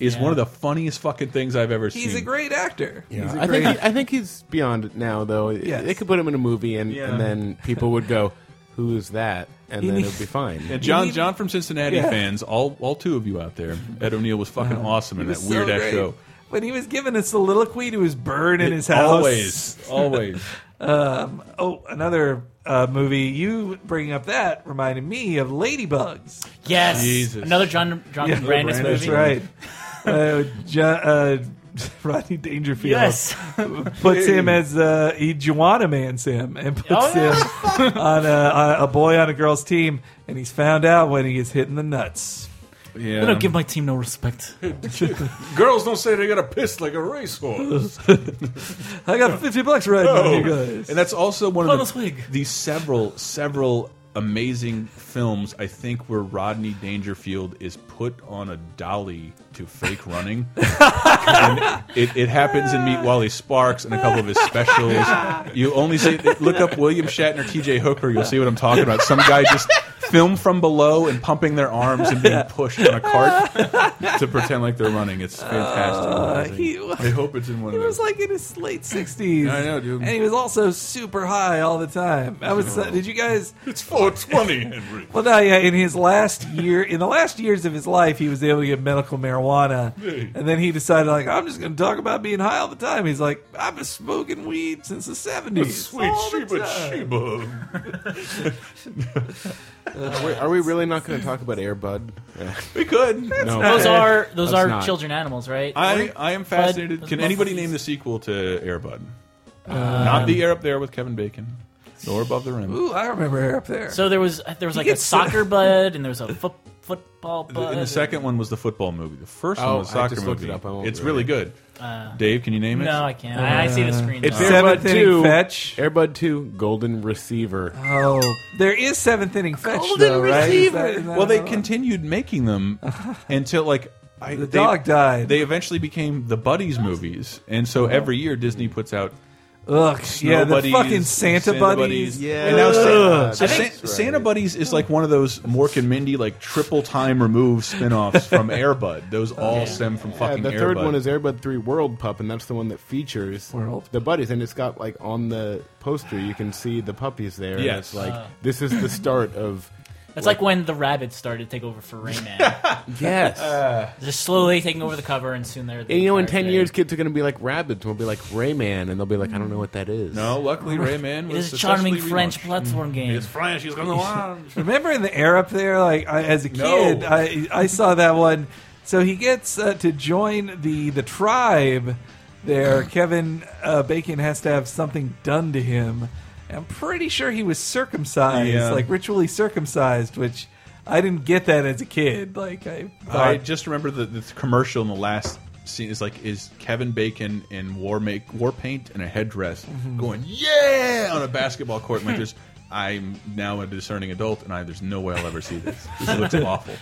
is Yeah. one of the funniest fucking things I've ever seen. Mm-hmm. He's a great actor. He's a I great think he, I think he's beyond it now, though. Yes. They could put him in a movie, and, Yeah. and then people would go, "Who's that?" And He then needs- it'd be fine. And John, need- John from Cincinnati Yeah. fans, all all two of you out there, Ed O'Neill was fucking awesome in He that was so weird ass great. show. When he was giving a soliloquy to his bird in his house. Always, always. Um, oh, another uh, movie. You bringing up that reminded me of Ladybugs. Yes. Jesus. Another John, John Yeah, Brandis Brandis, movie. That's right. Uh, Jo- uh, Rodney Dangerfield Yes. puts him as uh, he Juana mans him and puts Oh, him on a, on a boy on a girl's team, and he's found out when he gets hit in the nuts. Yeah. I don't give my team no respect. Girls don't say they gotta piss like a racehorse. I Oh. got fifty bucks right now, you guys. And that's also one Bonus of the, wig. the several, several amazing films, I think, where Rodney Dangerfield is put on a dolly to fake running. and it, it happens in Meet Wally Sparks and a couple of his specials. You only see, look up William Shatner, TJ Hooker, you'll see what I'm talking about. Some guy just film from below and pumping their arms and being pushed on a cart to pretend like they're running. It's fantastic. Uh, he- I hope it's in one He of those. was like in his late sixties. I know, dude. And he was also super high all the time. I was. uh, did you guys? Oh, It's 420, Henry. Well, no, yeah. In his last year, in the last years of his life, he was able to get medical marijuana, and then he decided, like, I'm just going to talk about being high all the time. He's like, I've been smoking weed since the seventies. Sheba. are, we, are we really not going to talk about Air Bud? We could. no, Those are those Let's are not. children animals, right? I, I am fascinated. Can anybody name the sequel to Airbud? Uh, Not the Air Up There with Kevin Bacon, nor Above the Rim. Ooh, I remember her up there. So there was there was like a gets- soccer bud and there was a foot, football bud. And the second one was the football movie. The first one Oh, was the I soccer just looked movie. it up. I won't it's do really it. Uh, good. Dave, can you name it? No, I can't. I, I see Uh, the screen. it's though. Air Bud Seventh inning two. fetch. Air Bud Two, Golden Receiver. Oh, there is seventh inning fetch Golden though, right? Is that- is that Well, they another one? continued making them until like I, The they- dog died. They eventually became the buddies movies, and so Oh. every year Disney puts out Ugh, yeah, the Buddies, fucking Santa, buddies. Yeah, and now Santa, Ugh. so I Sa- think- Santa Buddies is like one of those Mork and Mindy like triple time remove spin-offs from Airbud. Those all stem from Yeah, fucking the third Airbud. one is Airbud Three World Pup, and that's the one that features World. the buddies. And it's got like on the poster, you can see the puppies there. and Yes. it's like this is the start of That's like when the rabbits started to take over for Rayman. yes. Uh, Just slowly taking over the cover, and soon they're. The and you know, in entire ten thing. years, kids are going to be like rabbits, and we'll be like Rayman, and they'll be like, I don't know what that is. no, luckily Rayman it was is a charming successfully French relaunched. platform game. It's Mm. French. He's gonna lounge. Remember in the air up there, like I, as a No. kid, I I saw that one. So he gets uh, to join the the tribe. There, Kevin uh, Bacon has to have something done to him. I'm pretty sure he was circumcised, Yeah. like ritually circumcised, which I didn't get that as a kid. Like I, I thought, just remember the, the commercial in the last scene is like is Kevin Bacon in war make war paint and a headdress Mhm. going yeah on a basketball court. And like there's I'm now a discerning adult and I there's no way I'll ever see this. This looks awful.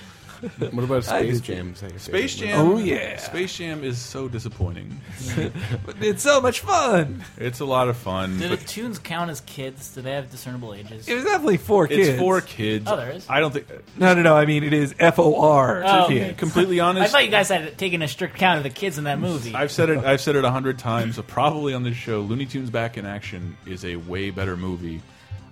What about I Space just- Jam? Is that your Space favorite Jam. movie? Oh, yeah. Space Jam is so disappointing. But it's so much fun. it's a lot of fun. Do but- the tunes count as kids? Do they have discernible ages? It was definitely for It's kids. for kids. Oh, there is? I don't think. No, no, no. I mean, it is F O R. Oh, for okay. kids. I thought you guys had taken a strict count of the kids in that movie. I've said it. I've said it a hundred times, probably on this show. Looney Tunes Back in Action is a way better movie.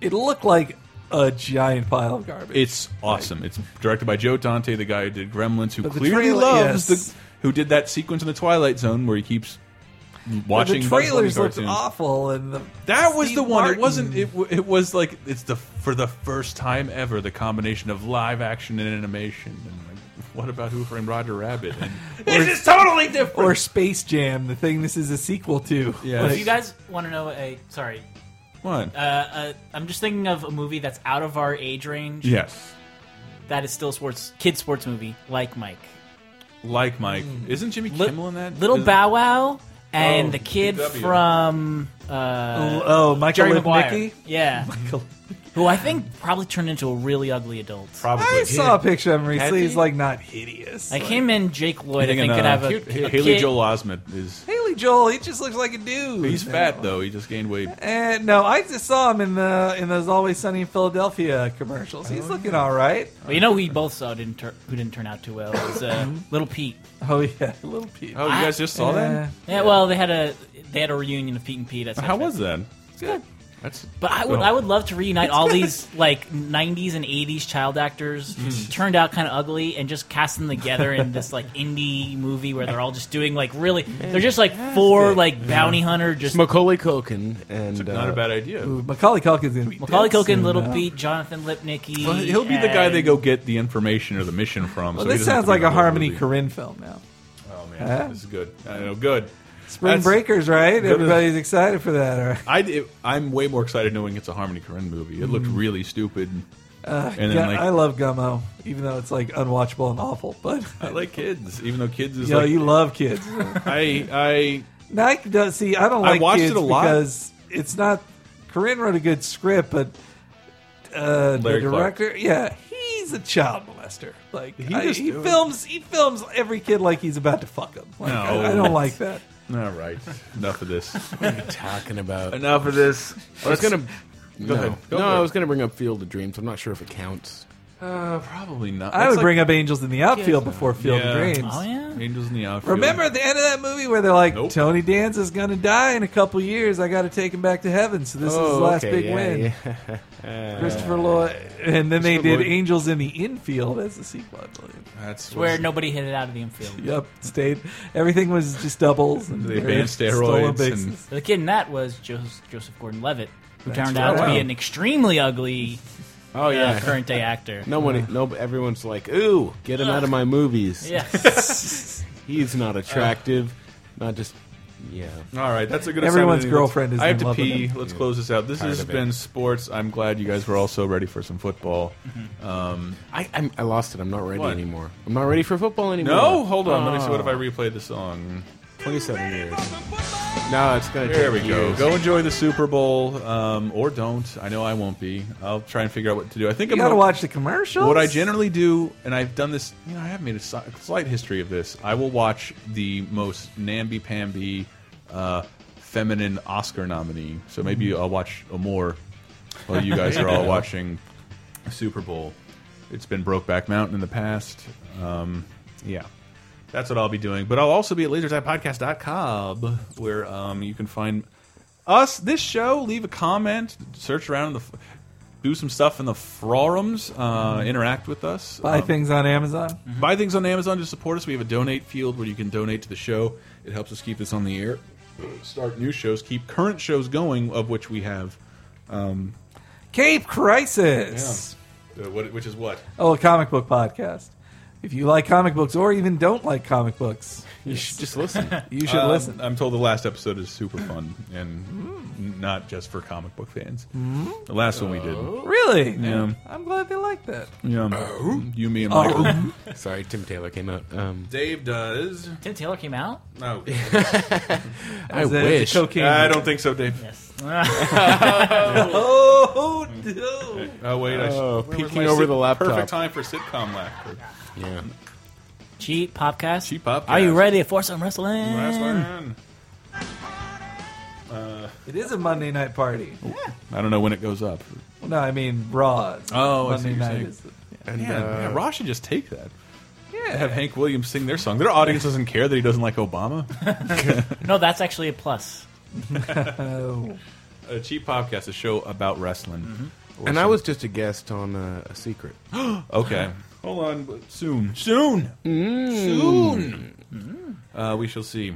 It looked like a giant pile of garbage. It's awesome. It's directed by Joe Dante, the guy who did Gremlins, who But the clearly trailer- loves yes. the who did that sequence in the Twilight Zone where he keeps watching the Bugs Bunny trailers looked cartoons. awful, and the, That was Steve the one. Martin. It wasn't. It, w- it was like it's the for the first time ever the combination of live action and animation. And like, what about Who Framed Roger Rabbit? And this is totally different. or Space Jam, the thing this is a sequel to. Yeah. Well, Like, if you guys want to know a sorry, What? Uh, uh, I'm just thinking of a movie that's out of our age range. Yes. that is still sports kid sports movie like Mike. Like Mike, isn't Jimmy Kimmel in that? Little Is- Bow Wow and Oh, the kid DW. from uh, Oh, oh, Michael Jerry Maguire. Lipnicki? Yeah, who I think probably turned into a really ugly adult. Probably. I saw a picture of him Had recently. he? He's like not hideous. Like him and Jake Lloyd, I Hang think, on, could have uh, a, Ha- a Haley kid- Joel Osment is. Haley Joel, he just looks like a dude. He's fat though. He just gained weight. And no, I just saw him in the in those Always Sunny in Philadelphia commercials. Oh, He's looking all right. Well, you know, we both saw didn't tur- who didn't turn out too well was uh, Mm-hmm. Little Pete. Oh yeah, little Pete. Oh, you guys just saw that? Yeah, well, they had a they had a reunion of Pete and Pete. At How was Central. that? It's good. That's. But I would Oh. I would love to reunite all these like '90s and '80s child actors who Mhm. turned out kind of ugly and just cast them together in this like indie movie where they're all just doing like really they're just like four Fantastic. like bounty Yeah. hunter It's just Oh, Macaulay Culkin and uh, not a bad idea. Ooh, Macaulay Culkin's gonna be Macaulay dead soon, Culkin, Little though. Pete, Jonathan Lipnicki. Well, he'll be the guy and- they go get the information or the mission from. Well, so he this doesn't have sounds to be like in a the whole Harmony movie. Korine film now. Oh man, Huh? this is good. I know, good. Spring That's- Breakers, right? Good. Everybody's excited for that. Or, I, it- I'm way more excited knowing it's a Harmony Korine movie. It looked Mhm. really stupid, uh, and then Gu- like I love Gummo, even though it's like unwatchable and awful. But I like kids, even though kids is yo, like you love kids. I I now I don't see. I don't I like watched kids it a lot. because it's not. Corinne wrote a good script, but uh, the Larry Clark. director, yeah, he's a child molester. Like He I- just- he films, he films every kid like he's about to fuck him. Like, I, I don't like that. All right, enough of this. What are you talking about? Enough of this. I was Let's- gonna. Go no, ahead. Go no, for I it. was gonna bring up Field of Dreams. I'm not sure if it counts. Uh, probably not. I That's would like- bring up Angels in the Outfield before Field Yeah. of Dreams. Oh yeah. Angels in the Outfield. Remember at the end of that movie where they're like, Nope. Tony Danza's going to die in a couple years. I got to take him back to heaven. So this is his Oh, last okay, big yeah, win. yeah. Christopher Lloyd. And then they Christopher did Lloyd. Angels in the Infield as the sequel, I believe. That's where nobody hit it out of the infield. Yep, stayed. Everything was just doubles. And They banned stolen steroids bases. and- The kid in that was Joseph, Joseph Gordon-Levitt, who That's turned out to right. be an extremely ugly uh, Oh yeah, current day actor. No one. No, everyone's like, "Ooh, get him out of my movies." Yes. He's not attractive. Not just. Yeah. All right, that's a good. Everyone's assignment. Let's- girlfriend is I have in to love with pee. him. Let's close this out. This Tired has of it. been sports. I'm glad you guys were also ready for some football. Um, I I'm, I lost it. I'm not ready What? anymore. I'm not ready for football anymore. no, hold on. Let me see. What if Oh. I replay the song? 27 years. No, it's gonna. There we take go. years. Go enjoy the Super Bowl, um, or don't. I know I won't be. I'll try and figure out what to do. I think You I'm got to gonna- watch the commercials. What I generally do, and I've done this, you know, I have made a si- slight history of this. I will watch the most namby-pamby, uh, feminine Oscar nominee. So maybe Mm-hmm. I'll watch a more while you guys are all watching the Super Bowl. It's been Brokeback Mountain in the past. Um, yeah. That's what I'll be doing. But I'll also be at lasertimepodcast.com where um, you can find us, this show. Leave a comment, search around, in the, f- do some stuff in the forums, uh, interact with us. Mm-hmm. buy Um, things on Amazon. buy things on Amazon to support us. We have a donate field where you can donate to the show. It helps us keep this on the air, start new shows, keep current shows going, of which we have. Um, Cape Crisis. uh, what, which is what? Oh, a comic book podcast. if you like comic books or even don't like comic books, You should just listen. you should Um, listen. I'm told the last episode is super fun and n- not just for comic book fans. Mm. The last one we did. Oh. Really? Yeah. I'm glad they like that. Uh, Yeah. Mm, You, me, and Oh. Michael. Sorry, Tim Taylor came out. Um, Dave does. Tim Taylor came out. No. Uh, I Is it wish. the cocaine? I don't think so, Dave. Yes. oh, no. Oh wait, I where Oh, was peeking my over sit- the laptop. Perfect time for sitcom laughter. yeah. Cheap podcast. Cheap podcast. Are you ready for some wrestling? Last one. Uh, It is a Monday night party. I don't know when it goes up. Well, no, I mean Raw. It's Oh, I see Monday what you're night. saying. Is, And, uh, yeah, man, Raw should just take that. yeah. Have Hank Williams sing their song. Their audience doesn't care that he doesn't like Obama. No, that's actually a plus. Oh. A cheap podcast, a show about wrestling. Or Mm-hmm. And I was just a guest on uh, a secret. Okay. Hold on. but Soon. Soon. Soon. Uh, we shall see.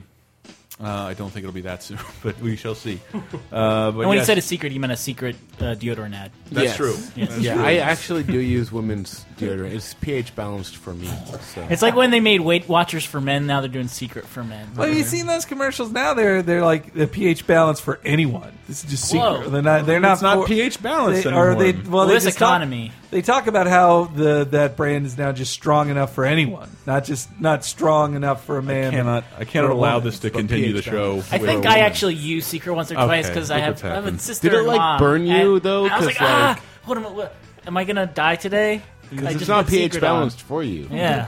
Uh, I don't think it'll be that soon, but we shall see. Uh, but And when yes, he said a secret, he meant a secret uh, deodorant ad. that's Yes. true. Yes. That's Yeah, true. I actually do use women's deodorant. It's pH balanced for me. So. It's like when they made Weight Watchers for men. Now they're doing Secret for men. Well, have you seen those commercials now? They're they're like the pH balance for anyone. This is just secret. Whoa. They're not. They're not. it's not for- pH balanced They, anymore. or they, well, Well, they this just economy. Talk, they talk about how the that brand is now just strong enough for anyone, not just not strong enough for a man. I cannot. I or cannot a allow woman. this to but continue the pH show. balance. I with think a I woman. actually used Secret once or twice Okay, because I look have what's I have a happened. sister. Did it, like, burn you, though? I was like, 'Cause, like- ah, what am I? What, am I gonna die today? I Because it's just not put pH Secret on. balanced for you. Yeah.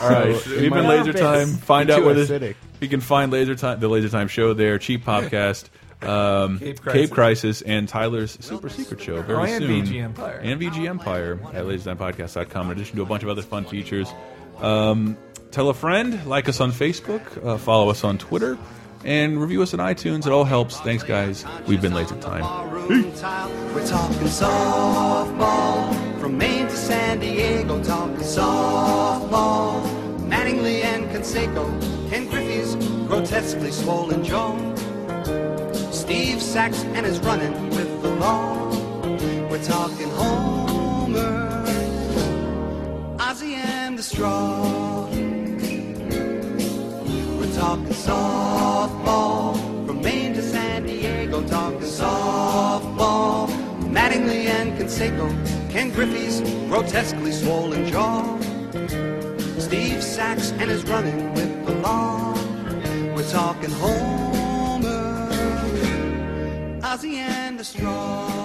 All right, So, we've been my- laser time. Find Too out where this. acidic. You can find laser time, the laser time show there, cheap podcast, um, Cape, Cape Crisis. Crisis. and Tyler's super secret show very Oh, and soon. VG Empire. and VG Empire at lasertimepodcast.com. In addition to a bunch of other fun features, um, tell a friend, like us on Facebook, uh, follow us on Twitter, and review us on iTunes. It all helps. Thanks, guys. We've been laser time. Ballroom tile. We're talking softball from Maine to San Diego. Talking softball. Mattingly and Conseco, Ken Griffey's grotesquely swollen jaw. Steve Sachs and his running with the law. We're talking Homer, Ozzy and the straw. We're talking softball from Maine to San Diego. Talking softball, Mattingly and Conseco, Ken Griffey's grotesquely swollen jaw, Steve Sachs and his running with the law. We're talking Homer, Ozzy and the Straw.